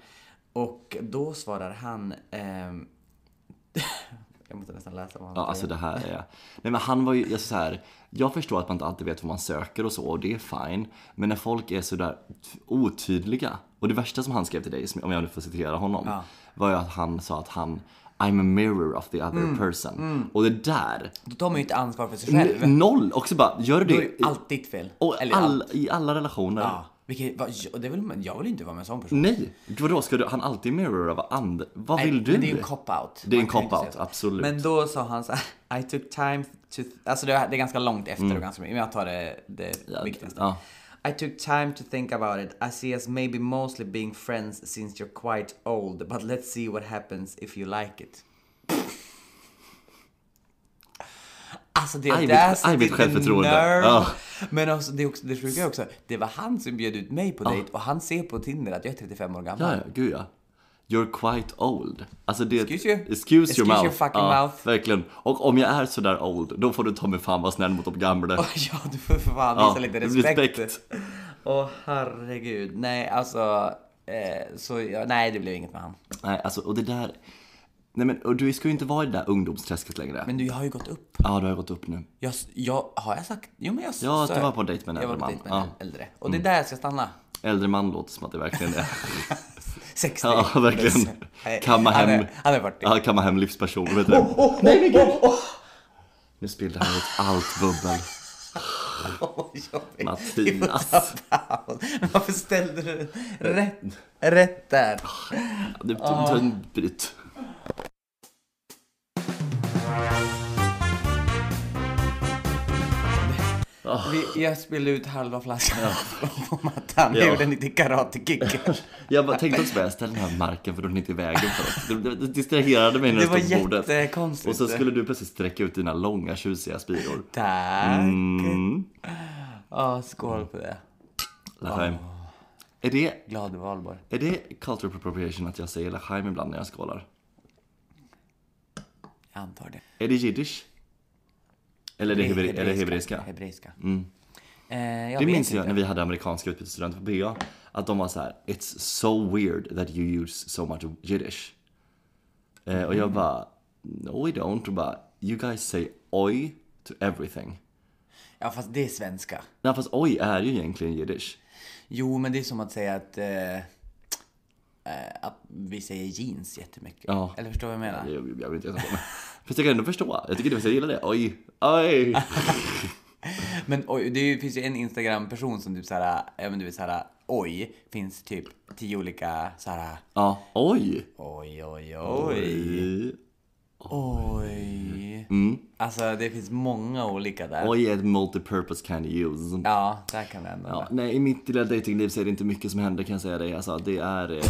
[SPEAKER 3] Och då svarar han, ehm, jag måste nästan läsa vad han
[SPEAKER 2] Ja,
[SPEAKER 3] säger.
[SPEAKER 2] alltså det här är... Nej men han var ju, alltså så här, jag förstår att man inte alltid vet vad man söker och så, och det är fine. Men när folk är sådär otydliga, och det värsta som han skrev till dig, som- om jag nu får citera honom, var ju att han sa att han I'm a mirror of the other
[SPEAKER 3] Mm.
[SPEAKER 2] person. Och det där,
[SPEAKER 3] Då tar man ju inte ansvar för sig själv.
[SPEAKER 2] n- noll! Och så bara, gör
[SPEAKER 3] Då
[SPEAKER 2] du
[SPEAKER 3] är
[SPEAKER 2] det
[SPEAKER 3] ju
[SPEAKER 2] i-
[SPEAKER 3] allt ditt fel.
[SPEAKER 2] och
[SPEAKER 3] eller allt.
[SPEAKER 2] all, i alla relationer.
[SPEAKER 3] Ja. Vilket, vad, och det vill, man- jag vill inte vara med en sån person.
[SPEAKER 2] Nej! Vadå, ska du, han alltid mirrora vad andra... Vad
[SPEAKER 3] Nej,
[SPEAKER 2] vill du?
[SPEAKER 3] Men det är ju en cop-out.
[SPEAKER 2] Det är en
[SPEAKER 3] Man kan ju inte
[SPEAKER 2] cop-out,
[SPEAKER 3] säga så.
[SPEAKER 2] absolut.
[SPEAKER 3] Men då sa han så här, I took time to... Alltså det är, det är ganska långt efter och ganska mycket, men jag tar det, det viktigaste.
[SPEAKER 2] Mm. ja.
[SPEAKER 3] I took time to think about it. I see us maybe mostly being friends since you're quite old, but let's see what happens if you like it. Alltså det
[SPEAKER 2] Aj,
[SPEAKER 3] där
[SPEAKER 2] mitt- aj, mitt
[SPEAKER 3] sitter
[SPEAKER 2] självförtroende.
[SPEAKER 3] nerve.
[SPEAKER 2] Ja.
[SPEAKER 3] Men också, det, är också, det sjuka är också, det var han som bjöd ut mig på dejt och han ser på Tinder att jag är 35 år gammal.
[SPEAKER 2] Ja, ja, gud ja. You're quite old. Alltså det,
[SPEAKER 3] Excuse you.
[SPEAKER 2] Excuse,
[SPEAKER 3] Excuse
[SPEAKER 2] your mouth.
[SPEAKER 3] your fucking
[SPEAKER 2] ja,
[SPEAKER 3] mouth.
[SPEAKER 2] Verkligen. Och om jag är sådär old, då får du ta mig fan vara snäll mot de gamla.
[SPEAKER 3] Ja, du får för fan visa lite
[SPEAKER 2] Ja, respekt.
[SPEAKER 3] respekt. Åh herregud, nej alltså. Eh, så, ja, nej det blev inget med han.
[SPEAKER 2] Nej, alltså och det där. Nej men och du ska ju inte vara i det där ungdomsträsket längre.
[SPEAKER 3] Men du, jag har ju gått upp.
[SPEAKER 2] Ja, du har gått upp nu.
[SPEAKER 3] Jag, jag, har jag sagt? Jo men jag
[SPEAKER 2] Ja, att
[SPEAKER 3] sa
[SPEAKER 2] du
[SPEAKER 3] jag-
[SPEAKER 2] var på dejt med en
[SPEAKER 3] Jag var
[SPEAKER 2] äldre
[SPEAKER 3] på
[SPEAKER 2] man.
[SPEAKER 3] dejt med
[SPEAKER 2] Ja. Mm.
[SPEAKER 3] en äldre. Och det är där jag ska stanna.
[SPEAKER 2] Äldre man låter som att det verkligen är.
[SPEAKER 3] 60.
[SPEAKER 2] ja, verkligen.
[SPEAKER 3] Nej,
[SPEAKER 2] Kamma
[SPEAKER 3] han
[SPEAKER 2] hem.
[SPEAKER 3] är- han är 40.
[SPEAKER 2] Ja, kamma hem livsperson. Vet
[SPEAKER 3] Oh!
[SPEAKER 2] du.
[SPEAKER 3] nej men gud!
[SPEAKER 2] Nu spillde han ut allt bubbel.
[SPEAKER 3] Ah.
[SPEAKER 2] Mattias.
[SPEAKER 3] Varför ställde du den rätt, rätt där?
[SPEAKER 2] Du tar typ en bryt.
[SPEAKER 3] Vi, jag spillde ut halva flaskan på mattan. Jag
[SPEAKER 2] Ah. Ja.
[SPEAKER 3] gjorde en liten karate-kick.
[SPEAKER 2] Jag bara tänkte också bara, jag ställer den här marken för då är den inte i vägen för oss. Det, det, det distraherade mig när
[SPEAKER 3] Det
[SPEAKER 2] jag
[SPEAKER 3] var
[SPEAKER 2] stod på bordet.
[SPEAKER 3] jättekonstigt.
[SPEAKER 2] Och så skulle du plötsligt sträcka ut dina långa tjusiga spiror.
[SPEAKER 3] Tack!
[SPEAKER 2] Mm,
[SPEAKER 3] Ja, skål på det.
[SPEAKER 2] Laheim. Är det,
[SPEAKER 3] Glad valborg.
[SPEAKER 2] är det cultural appropriation att jag säger Laheim ibland när jag skålar?
[SPEAKER 3] Jag antar det.
[SPEAKER 2] Är det jiddisch? Eller är det, hebreiska? Eller hebreiska? Mm.
[SPEAKER 3] Hebreiska. Eh, jag
[SPEAKER 2] Det
[SPEAKER 3] vet
[SPEAKER 2] minns jag
[SPEAKER 3] inte.
[SPEAKER 2] när vi hade amerikanska utbytesstudenter på BA. Att de var så här: It's so weird that you use so much jiddish. Eh, och
[SPEAKER 3] Mm.
[SPEAKER 2] jag bara, no we don't. Och bara, you guys say oj to everything.
[SPEAKER 3] Ja, fast det är svenska.
[SPEAKER 2] Nej fast oj är ju egentligen jiddisch.
[SPEAKER 3] Jo, men det är som att säga att, eh, eh, att vi säger jeans jättemycket.
[SPEAKER 2] Ja.
[SPEAKER 3] Eller förstår du vad jag menar?
[SPEAKER 2] Jag, jag vill inte ens på mig. Fast jag kan ändå förstå. Jag tycker det, jag gillar det. Oj, oj.
[SPEAKER 3] Men oj, det är ju- finns ju en Instagram-person som typ såhär, ja men du vet såhär, oj, finns typ tio olika såhär,
[SPEAKER 2] Ja, oj.
[SPEAKER 3] oj, oj, oj,
[SPEAKER 2] Oj. Mm.
[SPEAKER 3] oj. Alltså det finns många olika där.
[SPEAKER 2] Oj är ett multipurpose kind of use.
[SPEAKER 3] Ja, där kan det ändå
[SPEAKER 2] Ja, nej, i mitt lilla datingliv så är det inte mycket som händer kan jag säga dig. Alltså, det är... Eh,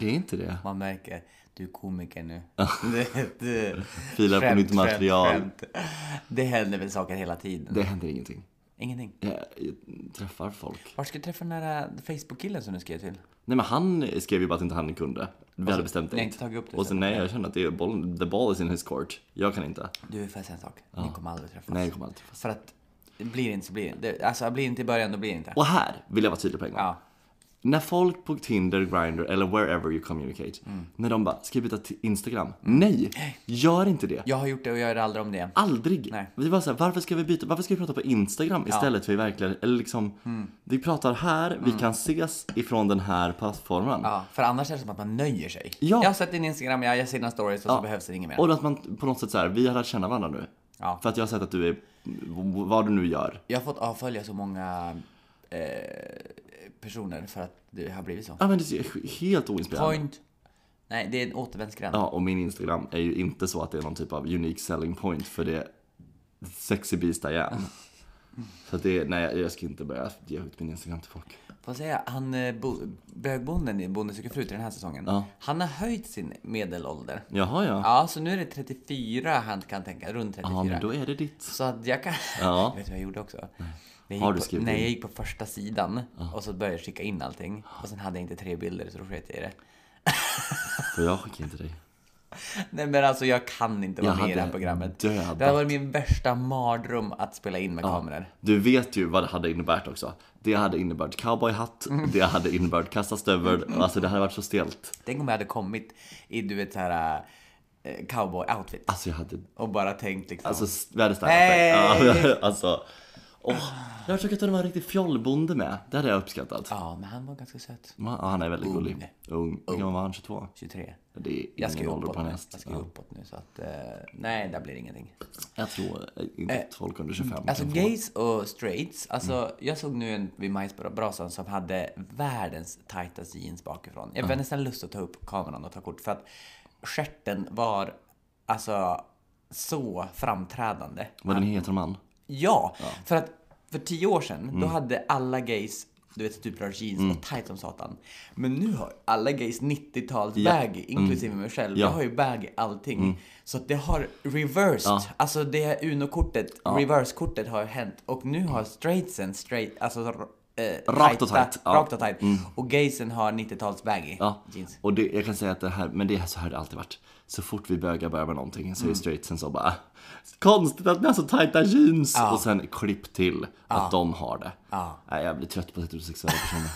[SPEAKER 2] det är inte det.
[SPEAKER 3] Man märker, du är komiker nu. Det- det-
[SPEAKER 2] Filar på
[SPEAKER 3] skämt,
[SPEAKER 2] nytt material.
[SPEAKER 3] skämt. Det händer väl saker hela tiden.
[SPEAKER 2] Det händer ingenting.
[SPEAKER 3] Ingenting.
[SPEAKER 2] Jag, jag träffar folk.
[SPEAKER 3] Var ska du träffa den där Facebook-killen som du skrev till?
[SPEAKER 2] Nej men han skrev ju bara att inte han kunde. Vi hade bestämt
[SPEAKER 3] ni har
[SPEAKER 2] date.
[SPEAKER 3] inte tagit upp det
[SPEAKER 2] Och sen nej, jag känner att det är bollen, the ball is in his court. Jag kan inte.
[SPEAKER 3] Du, får jag säga en sak? Ni kommer aldrig träffas.
[SPEAKER 2] Nej, jag kommer aldrig träffas.
[SPEAKER 3] För att, blir det inte så blir det inte. Alltså, blir det inte i början, då blir det inte.
[SPEAKER 2] Och här vill jag vara tydlig på en gång.
[SPEAKER 3] Ja.
[SPEAKER 2] När folk på Tinder, Grindr eller wherever you communicate.
[SPEAKER 3] Mm.
[SPEAKER 2] När de bara, ska jag byta till Instagram? Nej! Gör inte det.
[SPEAKER 3] Jag har gjort det och jag gör det aldrig om det igen.
[SPEAKER 2] Aldrig!
[SPEAKER 3] Nej.
[SPEAKER 2] Vi var såhär, varför ska vi byta? Varför ska vi prata på Instagram istället för i verkligheten? Eller liksom,
[SPEAKER 3] Mm.
[SPEAKER 2] vi pratar här, vi kan ses ifrån den här plattformen.
[SPEAKER 3] Ja, för annars är det som att man nöjer sig.
[SPEAKER 2] Ja.
[SPEAKER 3] Jag har sett din Instagram, jag jag ser dina stories och så behövs det inget mer.
[SPEAKER 2] Och att man på något sätt såhär, vi har lärt känna varandra nu.
[SPEAKER 3] Ja.
[SPEAKER 2] För att jag har sett att du är, vad du nu gör.
[SPEAKER 3] Jag har fått avfölja så många eh, personer för att det har blivit så.
[SPEAKER 2] Ja men det är helt oinspirerande.
[SPEAKER 3] Point. Nej, det är en återvändsgränd.
[SPEAKER 2] Ja, och min Instagram är ju inte så att det är någon typ av unique selling point för det Sexy Beast I am. Så att det, är- nej jag ska inte börja ge ut min Instagram till folk.
[SPEAKER 3] Får jag säga, han, eh, bo, bögbonden i Bonde söker fru till den här säsongen.
[SPEAKER 2] Ja.
[SPEAKER 3] Han har höjt sin medelålder.
[SPEAKER 2] Jaha ja.
[SPEAKER 3] Ja, så nu är det 34 han kan tänka, runt 34.
[SPEAKER 2] Ja men då är det ditt.
[SPEAKER 3] Så att jag kan...
[SPEAKER 2] Ja.
[SPEAKER 3] Vet du vad jag gjorde också? Jag
[SPEAKER 2] Har
[SPEAKER 3] gick
[SPEAKER 2] du
[SPEAKER 3] på,
[SPEAKER 2] skrivit
[SPEAKER 3] Nej,
[SPEAKER 2] in?
[SPEAKER 3] jag gick på första sidan och så började jag skicka in allting. Och sen hade jag inte tre bilder så då sket jag i det.
[SPEAKER 2] För jag skickar inte dig.
[SPEAKER 3] Nej men alltså jag kan inte vara
[SPEAKER 2] Jag
[SPEAKER 3] med i det här
[SPEAKER 2] hade
[SPEAKER 3] programmet.
[SPEAKER 2] dödat.
[SPEAKER 3] Det här var min värsta mardröm att spela in med kameror.
[SPEAKER 2] Du vet ju vad det hade inneburit också. Det hade inneburit cowboyhatt,
[SPEAKER 3] Mm.
[SPEAKER 2] det hade inneburit kassastövel, alltså det hade varit så stelt.
[SPEAKER 3] Tänk om jag hade kommit i du vet såhär eh, cowboy-outfit
[SPEAKER 2] Alltså jag hade,
[SPEAKER 3] och bara tänkt liksom.
[SPEAKER 2] alltså s- vi hade städat
[SPEAKER 3] Nej!
[SPEAKER 2] dig. Alltså, åh, jag försöker ta det var en riktig fjollbonde med, det hade jag uppskattat.
[SPEAKER 3] Ja, men han var ganska söt.
[SPEAKER 2] Ja, han är väldigt
[SPEAKER 3] Ung.
[SPEAKER 2] gullig. Ung. Hur gammal var han? 22?
[SPEAKER 3] 23.
[SPEAKER 2] Det är ingen
[SPEAKER 3] Jag ska ju
[SPEAKER 2] ålder
[SPEAKER 3] uppåt
[SPEAKER 2] på en
[SPEAKER 3] nu.
[SPEAKER 2] häst.
[SPEAKER 3] Jag ska ju uppåt nu så att, eh, nej, där blir det ingenting.
[SPEAKER 2] Jag tror eh, inte att folk under 25
[SPEAKER 3] Alltså
[SPEAKER 2] kan få-
[SPEAKER 3] gays och straights, alltså jag såg nu en vid Majsbrasan som hade världens tajtaste jeans bakifrån. Jag hade nästan lust att ta upp kameran och ta kort för att stjärten var alltså så framträdande.
[SPEAKER 2] Var den heter man?
[SPEAKER 3] Ja, för att för tio år sedan,
[SPEAKER 2] Mm.
[SPEAKER 3] då hade alla gays du vet, typ rör jeans och tight som satan. Men nu har alla gays 90-tals baggy, inklusive mig själv.
[SPEAKER 2] Mm. Ja. Mm.
[SPEAKER 3] Jag har ju baggy allting. Så att det har reversed. Alltså det här Uno-kortet, reverse-kortet har hänt. Och nu har straightsen, straight, alltså r- eh,
[SPEAKER 2] Rakt och
[SPEAKER 3] tajta-
[SPEAKER 2] tight, ja. Mm.
[SPEAKER 3] Rakt och tight. Och gaysen har 90-tals baggy
[SPEAKER 2] Ja,
[SPEAKER 3] jeans.
[SPEAKER 2] och det, jag kan säga att det här, men det är så här det alltid varit. Så fort vi bögar börjar med någonting så är straightsen så bara Konstigt att ni har så tajta jeans! Och sen klipp till att de har det. Nej, jag blir trött på heterosexuella personer.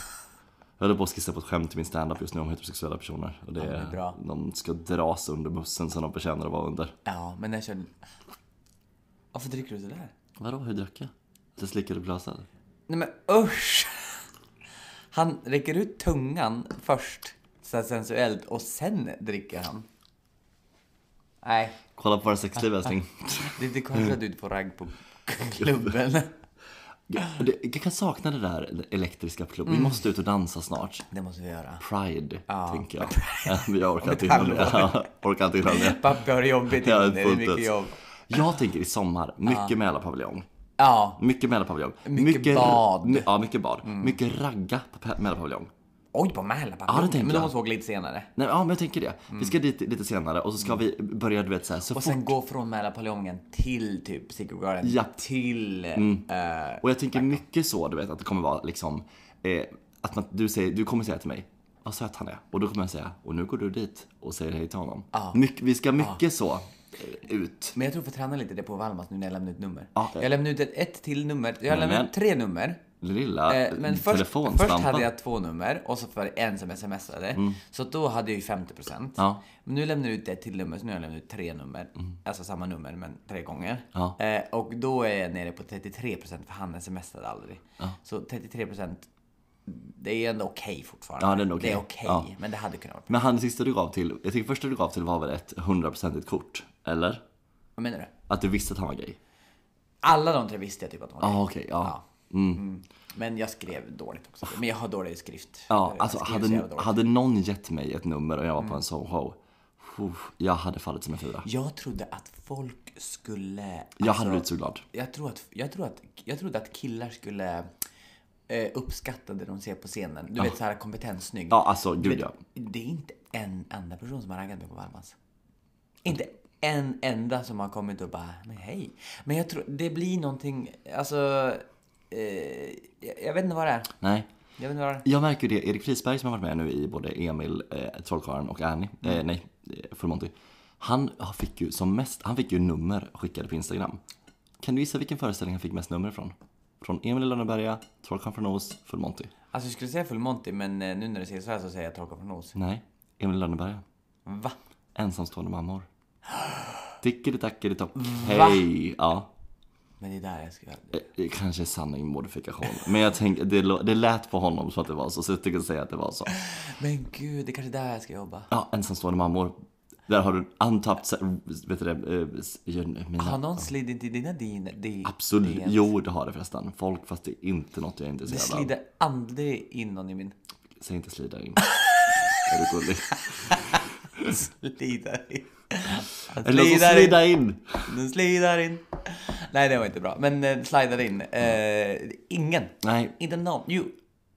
[SPEAKER 2] Jag håller på att skissa på ett skämt i min standup just nu om heterosexuella personer. Och det,
[SPEAKER 3] det är bra.
[SPEAKER 2] De ska dras under bussen som de förtjänar att vara under.
[SPEAKER 3] Ja, men när jag körde... Varför dricker du sådär?
[SPEAKER 2] Vadå, hur drack jag? Jag slickade på lösen.
[SPEAKER 3] Nej men usch! Han räcker ut tungan först, så här sensuellt, och sen dricker han. Nej,
[SPEAKER 2] Kolla på våra sexliv älskling.
[SPEAKER 3] det är inte konstigt att du inte får ragg på klubben.
[SPEAKER 2] Ja, det- Jag kan sakna det där elektriska på klubb.
[SPEAKER 3] Mm.
[SPEAKER 2] Vi måste ut och dansa snart.
[SPEAKER 3] Det måste vi göra.
[SPEAKER 2] Pride, tänker jag. Ja, men jag orkar inte
[SPEAKER 3] ett
[SPEAKER 2] innan det. Ja, orkar inte innan det.
[SPEAKER 3] Pappi har det jobbigt
[SPEAKER 2] Jag
[SPEAKER 3] inne,
[SPEAKER 2] är
[SPEAKER 3] det är
[SPEAKER 2] fullt
[SPEAKER 3] mycket
[SPEAKER 2] ut.
[SPEAKER 3] jobb.
[SPEAKER 2] Jag tänker i sommar, mycket Mälarpaviljong.
[SPEAKER 3] Ja,
[SPEAKER 2] Mycket Mälarpaviljong.
[SPEAKER 3] bad. Mm.
[SPEAKER 2] my- Ja, mycket bad. Mycket ragga på pe- Mälarpaviljong.
[SPEAKER 3] oj på Mälapappi.
[SPEAKER 2] Ja, det tänker
[SPEAKER 3] men då
[SPEAKER 2] jag.
[SPEAKER 3] måste vi åka lite senare.
[SPEAKER 2] Nej, ja, men jag tänker det. Vi ska dit lite senare och så ska vi börja, du vet så här, så
[SPEAKER 3] Mm. Och sen gå från Mälapaljongen till typ Secret Garden,
[SPEAKER 2] Ja. Mm.
[SPEAKER 3] till... eh,
[SPEAKER 2] Och jag tänker mycket så, du vet, att det kommer vara liksom eh, att man, du, säger, du kommer säga till mig vad söt han är och då kommer jag säga och nu går du dit och säger hej till honom. Myck, vi ska mycket så eh, ut.
[SPEAKER 3] Men jag tror vi får träna lite det på Valmas nu när jag lämnar ut nummer.
[SPEAKER 2] Ja.
[SPEAKER 3] Jag lämnar ut ett, ett till nummer, jag lämnar
[SPEAKER 2] Jajamän.
[SPEAKER 3] ut tre nummer.
[SPEAKER 2] Lilla
[SPEAKER 3] Eh,
[SPEAKER 2] eh,
[SPEAKER 3] men först, först
[SPEAKER 2] telefonslampan.
[SPEAKER 3] hade jag två nummer och så för en som smsade. Så då hade jag ju 50%.
[SPEAKER 2] Mm. Ja. Mm.
[SPEAKER 3] Men nu lämnar du ut ett till nummer, så nu har jag lämnat ut tre nummer. Alltså samma nummer, men tre gånger.
[SPEAKER 2] Ja.
[SPEAKER 3] Eh, och då är jag nere på 33% för han smsade aldrig. Så 33% det är ändå okej fortfarande.
[SPEAKER 2] Ja, det är ändå okej.
[SPEAKER 3] okej,
[SPEAKER 2] Ja.
[SPEAKER 3] men det hade kunnat vara
[SPEAKER 2] Men han sista du gav till, jag tycker första du gav till var väl ett 100% kort? Eller?
[SPEAKER 3] Vad menar du?
[SPEAKER 2] Att du visste att han var gay?
[SPEAKER 3] Alla de tre visste jag typ att de var
[SPEAKER 2] Ja,
[SPEAKER 3] gay.
[SPEAKER 2] okej, ja. Mm.
[SPEAKER 3] Men jag skrev dåligt också. Men jag har dålig skrift.
[SPEAKER 2] Ja,
[SPEAKER 3] Jag
[SPEAKER 2] alltså
[SPEAKER 3] skriver så jävla
[SPEAKER 2] hade,
[SPEAKER 3] dåligt. Mm.
[SPEAKER 2] hade någon gett mig ett nummer och jag var på en sån show, uff, jag hade fallit som en fyra.
[SPEAKER 3] Jag trodde att folk skulle...
[SPEAKER 2] Jag
[SPEAKER 3] alltså,
[SPEAKER 2] hade blivit så glad.
[SPEAKER 3] Jag, tror att, jag, tror att, jag trodde att killar skulle eh, uppskatta det de ser på scenen. Du vet, så här kompetenssnygg.
[SPEAKER 2] Ja, alltså gud
[SPEAKER 3] Vet,
[SPEAKER 2] ja.
[SPEAKER 3] Det är inte en enda person som har raggat mig på Valmans. Inte en enda som har kommit och bara, men hej. Men jag tror, det blir någonting, alltså... Eh, jag, jag vet inte vad det är.
[SPEAKER 2] Nej.
[SPEAKER 3] Jag vet inte vad det är.
[SPEAKER 2] Jag märker det, Erik Frisberg som har varit med nu i både Emil, eh, Trollkarlen och Annie, eh, nej, eh, Full Monty. Han fick ju som mest, han fick ju nummer skickade på Instagram. Kan du gissa vilken föreställning han fick mest nummer från? Från Emil i Lönneberga, Trollkarlen från Oz, Full Monty.
[SPEAKER 3] Alltså jag skulle säga full monty, men eh, nu när du säger så här så säger jag torka från nos.
[SPEAKER 2] Nej, Emil i Lönneberga.
[SPEAKER 3] Va?
[SPEAKER 2] Ensamstående mammor. Tickeli-tackeli-tock. Hej! Ja.
[SPEAKER 3] Men det är där jag ska...
[SPEAKER 2] Eh, Det kanske är sanning med modifikation. Men jag tänkte, det, lå- det lät på honom så att det var så, så jag tänker säga att det var så.
[SPEAKER 3] Men gud, det är kanske är där jag ska jobba.
[SPEAKER 2] Ja, ensamstående mammor. Där har du antappt, vet du det, eh, s- gör- mina...
[SPEAKER 3] Har någon slidit i dina din... di-
[SPEAKER 2] Absolut,
[SPEAKER 3] DMs?
[SPEAKER 2] jo det har det förresten. Folk, fast det är inte något jag
[SPEAKER 3] Det
[SPEAKER 2] är intresserad av.
[SPEAKER 3] slider aldrig in någon i min...
[SPEAKER 2] Säg inte slida in. är du gullig?
[SPEAKER 3] Slider in. Den
[SPEAKER 2] Eller så
[SPEAKER 3] slider in.
[SPEAKER 2] slida in!
[SPEAKER 3] Den slider in. Nej, det var inte bra. Men eh, slidade in. Eh, ingen.
[SPEAKER 2] Nej,
[SPEAKER 3] Inte någon. Jo.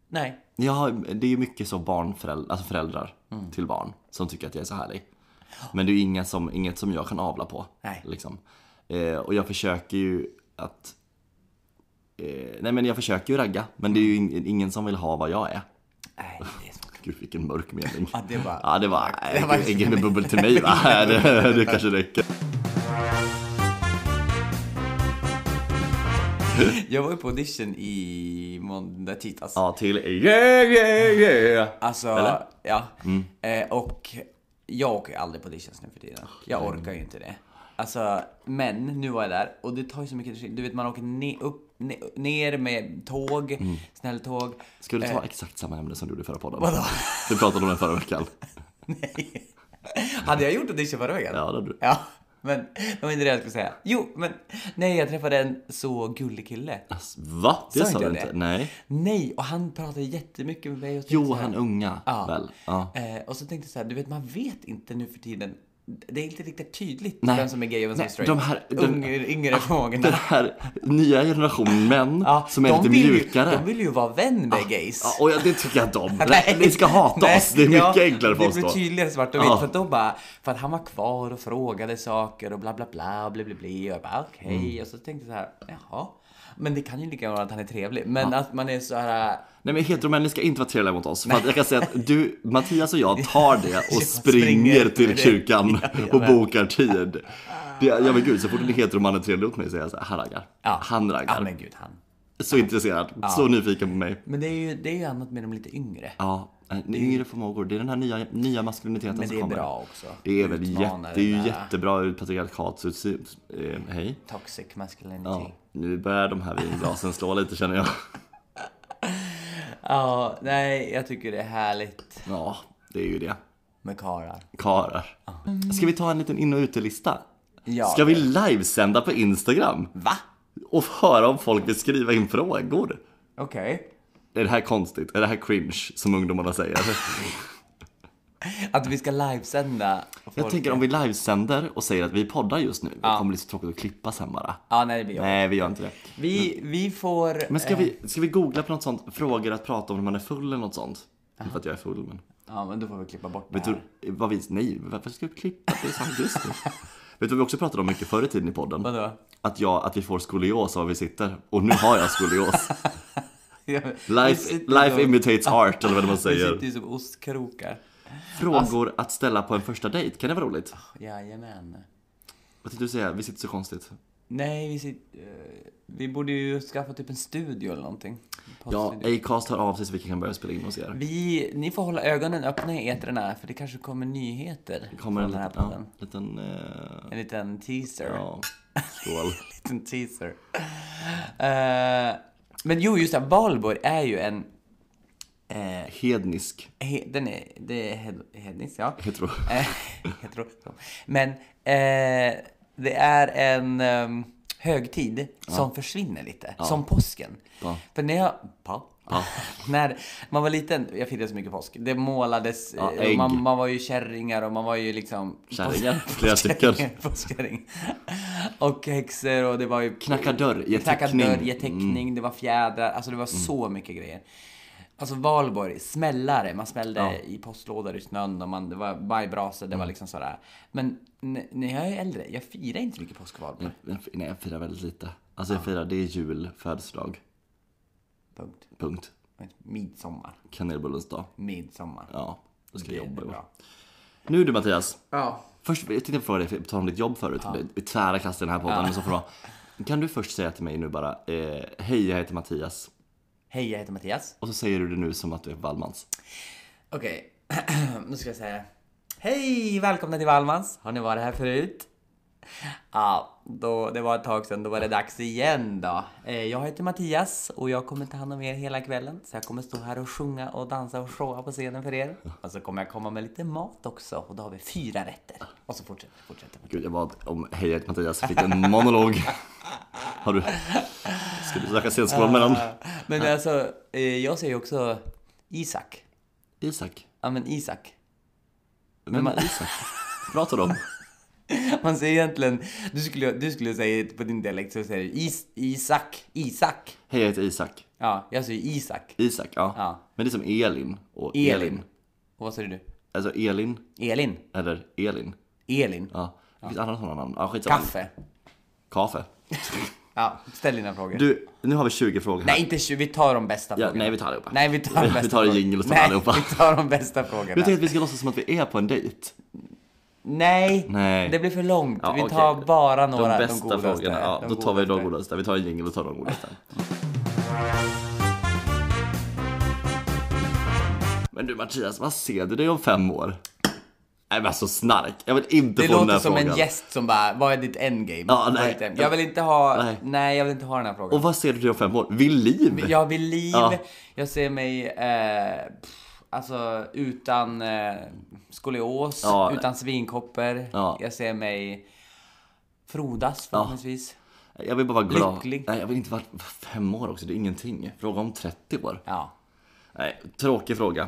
[SPEAKER 3] Nej.
[SPEAKER 2] Ja, det är ju mycket så barnföräldrar, alltså föräldrar
[SPEAKER 3] Mm.
[SPEAKER 2] till barn som tycker att jag är så härlig. Men det är ju inget som, inget som jag kan avla på.
[SPEAKER 3] Nej.
[SPEAKER 2] Liksom. Eh, och jag försöker ju att... Eh, nej men jag försöker ju ragga, men det är ju
[SPEAKER 3] Mm.
[SPEAKER 2] in, ingen som vill ha vad jag är.
[SPEAKER 3] Nej, det är så.
[SPEAKER 2] Gud vilken mörk mening.
[SPEAKER 3] Ja, det var-
[SPEAKER 2] Ja, det var...
[SPEAKER 3] det var-
[SPEAKER 2] äggen med bubbel till mig va? det, det kanske räcker.
[SPEAKER 3] Jag var ju på audition i måndag, tisdags.
[SPEAKER 2] Ja, till yeah, yeah, yeah.
[SPEAKER 3] Alltså,
[SPEAKER 2] Eller? Mm.
[SPEAKER 3] ja. Eh, och jag åker ju aldrig på auditions nu för tiden. Jag orkar ju inte det. Alltså, men nu var jag där och det tar ju så mycket energi. Du vet, man åker ne- upp, ne- ner med tåg,
[SPEAKER 2] Mm.
[SPEAKER 3] snälltåg.
[SPEAKER 2] Ska du ta
[SPEAKER 3] Eh.
[SPEAKER 2] exakt samma ämne som du gjorde i förra podden? Vadå? Vi pratade om det förra veckan.
[SPEAKER 3] Nej. Hade jag gjort audition förra veckan?
[SPEAKER 2] Ja, det hade du.
[SPEAKER 3] Ja, men det var inte det jag skulle säga. Jo, men nej, jag träffade en så gullig kille.
[SPEAKER 2] Alltså, Va? Det
[SPEAKER 3] Sa
[SPEAKER 2] sa
[SPEAKER 3] inte
[SPEAKER 2] du
[SPEAKER 3] jag
[SPEAKER 2] inte?
[SPEAKER 3] det?
[SPEAKER 2] Nej.
[SPEAKER 3] Nej, och han pratade jättemycket med mig. och tänkte
[SPEAKER 2] Jo,
[SPEAKER 3] så här-
[SPEAKER 2] han unga
[SPEAKER 3] Ja.
[SPEAKER 2] väl? Ja.
[SPEAKER 3] Eh, och så tänkte jag så här, du vet man vet inte nu för tiden. Det är inte riktigt tydligt
[SPEAKER 2] Nej.
[SPEAKER 3] vem som är gay och vem som är
[SPEAKER 2] Nej,
[SPEAKER 3] straight.
[SPEAKER 2] de här- de-
[SPEAKER 3] Unge- yngre förmågorna.
[SPEAKER 2] Den här nya generationen män
[SPEAKER 3] Ja,
[SPEAKER 2] som är
[SPEAKER 3] de
[SPEAKER 2] lite
[SPEAKER 3] vill ju-
[SPEAKER 2] mjukare.
[SPEAKER 3] De vill ju vara vän med gays.
[SPEAKER 2] Ja, och ja, det tycker jag att de. Ni ska hata
[SPEAKER 3] Nej,
[SPEAKER 2] oss. Det är mycket
[SPEAKER 3] ja,
[SPEAKER 2] enklare för oss
[SPEAKER 3] Det
[SPEAKER 2] då. Ah.
[SPEAKER 3] blir tydligare svart och vitt.
[SPEAKER 2] Ja.
[SPEAKER 3] För att de bara, för att han var kvar och frågade saker och bla bla bla, bli bli bli. Och jag bara okej.
[SPEAKER 2] Mm.
[SPEAKER 3] Och så tänkte jag så här, jaha. Men det kan ju lika gärna vara att han är trevlig. Men att man är så här,
[SPEAKER 2] Nej men heteromän, ni ska inte vara trevliga mot oss. För att jag kan säga att du, Mattias och jag tar det och
[SPEAKER 3] Jag
[SPEAKER 2] springer
[SPEAKER 3] springer
[SPEAKER 2] till
[SPEAKER 3] med det.
[SPEAKER 2] kyrkan och
[SPEAKER 3] jajamän.
[SPEAKER 2] bokar tid. Det, ja men gud, så fort en heteroman är trevlig mot mig säger jag så här, han raggar.
[SPEAKER 3] Ah. ja.
[SPEAKER 2] Han
[SPEAKER 3] Ja
[SPEAKER 2] raggar.
[SPEAKER 3] men gud han.
[SPEAKER 2] Så intresserad, så nyfiken på mig.
[SPEAKER 3] Men det är ju, det är ju annat med de lite yngre.
[SPEAKER 2] Ja, eh, yngre förmågor. Det är den här nya, nya maskuliniteten
[SPEAKER 3] Men
[SPEAKER 2] som
[SPEAKER 3] det är
[SPEAKER 2] kommer.
[SPEAKER 3] bra också.
[SPEAKER 2] Det är väl jätte,
[SPEAKER 3] Utmanar
[SPEAKER 2] det är ju
[SPEAKER 3] den där
[SPEAKER 2] jättebra ur patriarkats eh, Hej.
[SPEAKER 3] Toxic masculinity.
[SPEAKER 2] Ja,
[SPEAKER 3] Ja,
[SPEAKER 2] nu börjar de här vinglasen slå lite känner jag.
[SPEAKER 3] nej, jag tycker det är härligt
[SPEAKER 2] Ja, det är ju det.
[SPEAKER 3] med karlar.
[SPEAKER 2] Karar. Ska vi ta en liten in och utelista?
[SPEAKER 3] Ja.
[SPEAKER 2] Ska vi livesända på Instagram?
[SPEAKER 3] Va?
[SPEAKER 2] Och höra om folk vill skriva in frågor?
[SPEAKER 3] Okej.
[SPEAKER 2] Är det här konstigt? Är det här cringe som ungdomarna säger?
[SPEAKER 3] Att vi ska livesända.
[SPEAKER 2] Jag tänker om vi livesänder och säger att vi poddar just nu. Det kommer bli så tråkigt att klippa sen bara.
[SPEAKER 3] Ja, nej, det blir jobbigt.
[SPEAKER 2] Nej, vi gör inte det.
[SPEAKER 3] Vi, vi får...
[SPEAKER 2] Men ska vi, ska vi googla på något sånt? Frågor att prata om när man är full eller något sånt? Inte för att jag är full men.
[SPEAKER 3] Ja, men då får vi klippa bort det
[SPEAKER 2] Vet
[SPEAKER 3] här.
[SPEAKER 2] du, vad vi, nej, varför ska vi klippa? Det är sant, just det. Vet du vad vi också pratade om mycket förr i tiden i podden?
[SPEAKER 3] Vadå?
[SPEAKER 2] Att, jag, att vi får skolios av var vi sitter. Och nu har jag skolios.
[SPEAKER 3] Ja, vi
[SPEAKER 2] Life,
[SPEAKER 3] sitter
[SPEAKER 2] life
[SPEAKER 3] som-
[SPEAKER 2] imitates art, eller vad man
[SPEAKER 3] Vi sitter
[SPEAKER 2] säger.
[SPEAKER 3] ju som ostkrokar. Alltså-
[SPEAKER 2] Frågor att ställa på en första dejt, kan det vara roligt?
[SPEAKER 3] Jajamän.
[SPEAKER 2] Vad tänkte du säga? Vi sitter så konstigt.
[SPEAKER 3] Nej, vi sitter... eh, Vi borde ju skaffa typ en studio eller någonting.
[SPEAKER 2] Ja,
[SPEAKER 3] Poddstudio.
[SPEAKER 2] Acast hör av sig så vi kan börja spela in hos er.
[SPEAKER 3] Vi, ni får hålla ögonen öppna i eterna för det kanske kommer nyheter
[SPEAKER 2] Det kommer en
[SPEAKER 3] från den här
[SPEAKER 2] liten,
[SPEAKER 3] podden.
[SPEAKER 2] ja, liten eh,
[SPEAKER 3] En liten teaser.
[SPEAKER 2] ja, skål.
[SPEAKER 3] liten teaser. Eh, men jo, just det. Valborg är ju en... eh,
[SPEAKER 2] Hednisk,
[SPEAKER 3] he, den är... Det är hed, hednis, ja.
[SPEAKER 2] heter du?
[SPEAKER 3] Eh, hetero, hetero. Men eh, det är en ehm, högtid som försvinner lite. Som påsken.
[SPEAKER 2] Ja.
[SPEAKER 3] För när jag... Pa? när man var liten, jag firade så mycket påsk. Det målades,
[SPEAKER 2] Ja,
[SPEAKER 3] eh, och
[SPEAKER 2] ägg.
[SPEAKER 3] man, man var ju kärringar och man var ju liksom...
[SPEAKER 2] Kärringar, flera stycken.
[SPEAKER 3] Påskkärring. Och häxor och det var ju...
[SPEAKER 2] Knacka dörr, Mm. ge
[SPEAKER 3] Knacka
[SPEAKER 2] teckning.
[SPEAKER 3] dörr, ge teckning, det var fjädrar, alltså det var så mycket grejer. Alltså valborg, smällare, man smällde i postlådor i snön och man, det var bajbrasor, det var liksom sådär. Men n- när jag är äldre, jag firar inte så mycket påsk och valborg.
[SPEAKER 2] Nej, jag firar väldigt lite. Alltså jag firar, det är jul, födelsedag,
[SPEAKER 3] Punkt.
[SPEAKER 2] punkt.
[SPEAKER 3] Midsommar.
[SPEAKER 2] Kanelbullens dag.
[SPEAKER 3] Midsommar.
[SPEAKER 2] Ja, då ska
[SPEAKER 3] Det
[SPEAKER 2] jag
[SPEAKER 3] är
[SPEAKER 2] jobba.
[SPEAKER 3] bra.
[SPEAKER 2] Nu du Mattias.
[SPEAKER 3] Ja.
[SPEAKER 2] Först, jag tänkte fråga dig, för jag talade om ditt jobb förut. Vi tvära kast i den här podden. Men så får det vara. Kan du först säga till mig nu bara, eh, hej jag heter Mattias.
[SPEAKER 3] Hej, jag heter Mattias.
[SPEAKER 2] Och så säger du det nu som att du är på Wallmans.
[SPEAKER 3] Okej, nu ska jag säga. Hej, välkomna till Valmans. Har ni varit här förut? Ja, då, det var ett tag sedan. Då var det dags igen då. Eh, Jag heter Mattias och jag kommer ta hand om er hela kvällen. Så jag kommer stå här och sjunga och dansa och showa på scenen för er. Och så kommer jag komma med lite mat också och då har vi fyra rätter. Och så fortsätter fortsätter.
[SPEAKER 2] Gud jag bad om hej jag heter Mattias, fick en monolog. Har du... Ska du söka scenskolan med den?
[SPEAKER 3] Men alltså, eh, jag säger också Isak.
[SPEAKER 2] Isak.
[SPEAKER 3] Ja, men Isak.
[SPEAKER 2] Vem är Isak? Prata då.
[SPEAKER 3] Man säger egentligen, du skulle, du skulle säga på din dialekt så säger du is, Isak, Isak.
[SPEAKER 2] Hej, jag heter Isak.
[SPEAKER 3] Ja, jag säger Isak.
[SPEAKER 2] Isak, ja.
[SPEAKER 3] Ja.
[SPEAKER 2] Men det är som Elin och
[SPEAKER 3] Elin.
[SPEAKER 2] Elin.
[SPEAKER 3] Och vad säger du?
[SPEAKER 2] Alltså Elin,
[SPEAKER 3] Elin.
[SPEAKER 2] eller Elin.
[SPEAKER 3] Elin.
[SPEAKER 2] Ja. Det finns andra sådana namn. Ja, skitsamma.
[SPEAKER 3] Kaffe.
[SPEAKER 2] Kaffe.
[SPEAKER 3] Ja, ställ dina frågor.
[SPEAKER 2] Du, nu har vi 20 frågor här.
[SPEAKER 3] Nej, inte 20, vi tar de bästa
[SPEAKER 2] Ja,
[SPEAKER 3] frågorna.
[SPEAKER 2] nej, vi tar allihopa.
[SPEAKER 3] Nej, vi tar de bästa
[SPEAKER 2] Vi tar en jingle och så tar
[SPEAKER 3] Nej,
[SPEAKER 2] allihopa.
[SPEAKER 3] vi tar de bästa frågorna.
[SPEAKER 2] Jag tänkte att vi ska låtsas som att vi är på en dejt.
[SPEAKER 3] Nej,
[SPEAKER 2] Nej.
[SPEAKER 3] det blir för långt.
[SPEAKER 2] Ja,
[SPEAKER 3] vi
[SPEAKER 2] okej.
[SPEAKER 3] tar bara några,
[SPEAKER 2] De
[SPEAKER 3] de,
[SPEAKER 2] bästa
[SPEAKER 3] godaste.
[SPEAKER 2] frågorna. Ja,
[SPEAKER 3] de
[SPEAKER 2] då tar vi de
[SPEAKER 3] godaste.
[SPEAKER 2] godaste. Vi tar en jingel och tar de godaste. Men du Mattias, vad ser du dig om fem år? Nej men alltså snark. Jag vill inte
[SPEAKER 3] Det
[SPEAKER 2] få den
[SPEAKER 3] låter
[SPEAKER 2] här
[SPEAKER 3] som
[SPEAKER 2] frågan.
[SPEAKER 3] en gäst som bara, vad är ditt endgame?
[SPEAKER 2] Ja,
[SPEAKER 3] Vad är
[SPEAKER 2] nej.
[SPEAKER 3] ditt endgame? Jag vill inte ha, nej.
[SPEAKER 2] Nej.
[SPEAKER 3] jag vill inte ha den här frågan.
[SPEAKER 2] Och vad ser du dig om fem år? Vid liv?
[SPEAKER 3] Jag vill liv,
[SPEAKER 2] Ja.
[SPEAKER 3] jag ser mig eh, pff, alltså utan eh, skolios,
[SPEAKER 2] Ja.
[SPEAKER 3] utan svinkoppor.
[SPEAKER 2] Ja.
[SPEAKER 3] Jag ser mig frodas förhoppningsvis.
[SPEAKER 2] Jag vill bara vara glad.
[SPEAKER 3] Lycklig.
[SPEAKER 2] Nej jag vill inte vara fem år också, det är ingenting. Fråga om 30 år.
[SPEAKER 3] Ja.
[SPEAKER 2] Nej, tråkig fråga.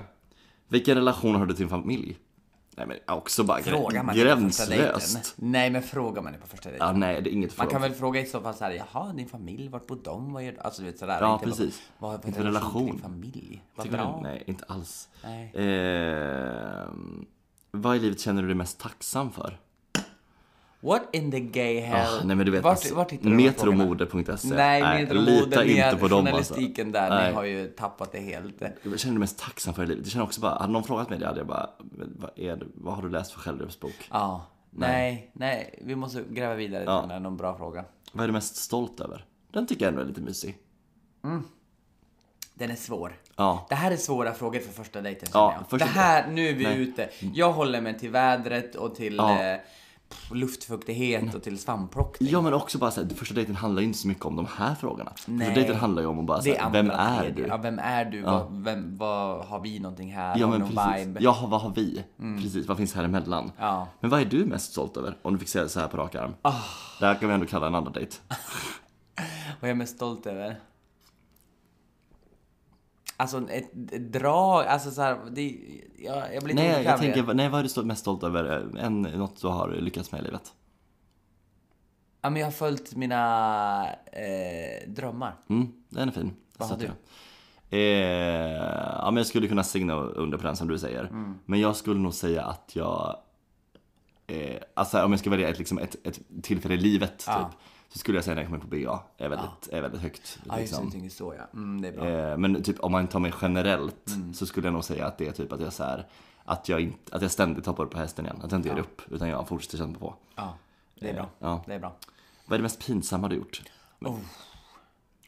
[SPEAKER 2] Vilken relation har du till din familj? Nej men också bara
[SPEAKER 3] Frågar man det på första dejten?
[SPEAKER 2] gränslöst.
[SPEAKER 3] Nej men frågar man det på första dejten?
[SPEAKER 2] Ja, nej det är inget
[SPEAKER 3] Man
[SPEAKER 2] fråga.
[SPEAKER 3] kan väl fråga i så fall såhär, jaha din familj, vart bor de? Vad gör du? Alltså du vet sådär.
[SPEAKER 2] Ja,
[SPEAKER 3] inte bara,
[SPEAKER 2] precis.
[SPEAKER 3] Vad vad är
[SPEAKER 2] Inte
[SPEAKER 3] din relation
[SPEAKER 2] relation.
[SPEAKER 3] till din familj? Vad
[SPEAKER 2] Tycker
[SPEAKER 3] bra.
[SPEAKER 2] du? Nej, inte alls.
[SPEAKER 3] Nej.
[SPEAKER 2] Ehm, vad i livet känner du dig mest tacksam för?
[SPEAKER 3] What in the gay hell?
[SPEAKER 2] Ah, nej men du vet,
[SPEAKER 3] vart,
[SPEAKER 2] alltså,
[SPEAKER 3] vart hittar du de här frågorna?
[SPEAKER 2] metromode.se.
[SPEAKER 3] Nej,
[SPEAKER 2] äh, lita
[SPEAKER 3] medelmode,
[SPEAKER 2] inte på dem alltså.
[SPEAKER 3] journalistiken där, ni
[SPEAKER 2] Nej.
[SPEAKER 3] har ju tappat det helt.
[SPEAKER 2] Vad känner du mest tacksam för i livet? Jag känner också bara, hade någon frågat mig det hade jag bara, "Men vad, är det, vad har du läst för självhjälpsbok?
[SPEAKER 3] Ja. Nej, nej, vi måste gräva vidare till den här, någon bra fråga.
[SPEAKER 2] Vad är du mest stolt över? Den tycker jag ändå är lite mysig.
[SPEAKER 3] Den är svår.
[SPEAKER 2] Ja.
[SPEAKER 3] Det här är svåra frågor för första dejten
[SPEAKER 2] Ja,
[SPEAKER 3] känner jag.
[SPEAKER 2] första
[SPEAKER 3] Det här, nu är vi ute. Jag håller mig till vädret och till
[SPEAKER 2] Ja. Mm.
[SPEAKER 3] eh, pff, luftfuktighet och till svampplockning.
[SPEAKER 2] Ja men också bara såhär, första dejten handlar ju inte så mycket om de här frågorna.
[SPEAKER 3] Nej.
[SPEAKER 2] Första dejten handlar ju om att bara
[SPEAKER 3] Det är
[SPEAKER 2] såhär,
[SPEAKER 3] andra,
[SPEAKER 2] vem är
[SPEAKER 3] tredje.
[SPEAKER 2] du?
[SPEAKER 3] Ja, vem är du? Vad, vem, vad har vi någonting här?
[SPEAKER 2] Ja
[SPEAKER 3] har vi
[SPEAKER 2] men
[SPEAKER 3] någon
[SPEAKER 2] precis.
[SPEAKER 3] vibe? Mm.
[SPEAKER 2] Ja, vad har vi? Precis, vad finns här emellan?
[SPEAKER 3] Ja.
[SPEAKER 2] Men vad är du mest stolt över? Om du fick säga det så här på rak arm.
[SPEAKER 3] Ah.
[SPEAKER 2] Det här kan vi ändå kalla en andra dejt.
[SPEAKER 3] Vad jag är mest stolt över? Alltså ett, ett drag, alltså såhär, det, jag, jag blir lite
[SPEAKER 2] Nej,
[SPEAKER 3] obekväm
[SPEAKER 2] jag
[SPEAKER 3] med det.
[SPEAKER 2] tänker, nej vad är du stol- mest stolt över? eh, Än något du har lyckats med i livet?
[SPEAKER 3] Ja men jag har följt mina eh, drömmar.
[SPEAKER 2] Mm, den är fin.
[SPEAKER 3] Vad har
[SPEAKER 2] Så att
[SPEAKER 3] du?
[SPEAKER 2] jag- Eh, ja men jag skulle kunna signa under på den som du säger.
[SPEAKER 3] Mm.
[SPEAKER 2] Men jag skulle nog säga att jag... Eh, alltså om jag ska välja ett, liksom, ett, ett tillfälle i livet typ. Så skulle jag säga när jag kommer på BA. Är väldigt, är väldigt högt.
[SPEAKER 3] Ja just det,
[SPEAKER 2] liksom.
[SPEAKER 3] du tänker så ja. Mm, det är bra.
[SPEAKER 2] Eh, Men typ om man tar mig generellt så skulle jag nog säga att det är typ att jag så här, att jag, inte, att jag ständigt hoppar upp på hästen igen. Att jag inte ger upp utan jag fortsätter kämpa på.
[SPEAKER 3] Ja, det är bra.
[SPEAKER 2] ja.
[SPEAKER 3] Det är bra.
[SPEAKER 2] Vad är det mest pinsamma du gjort?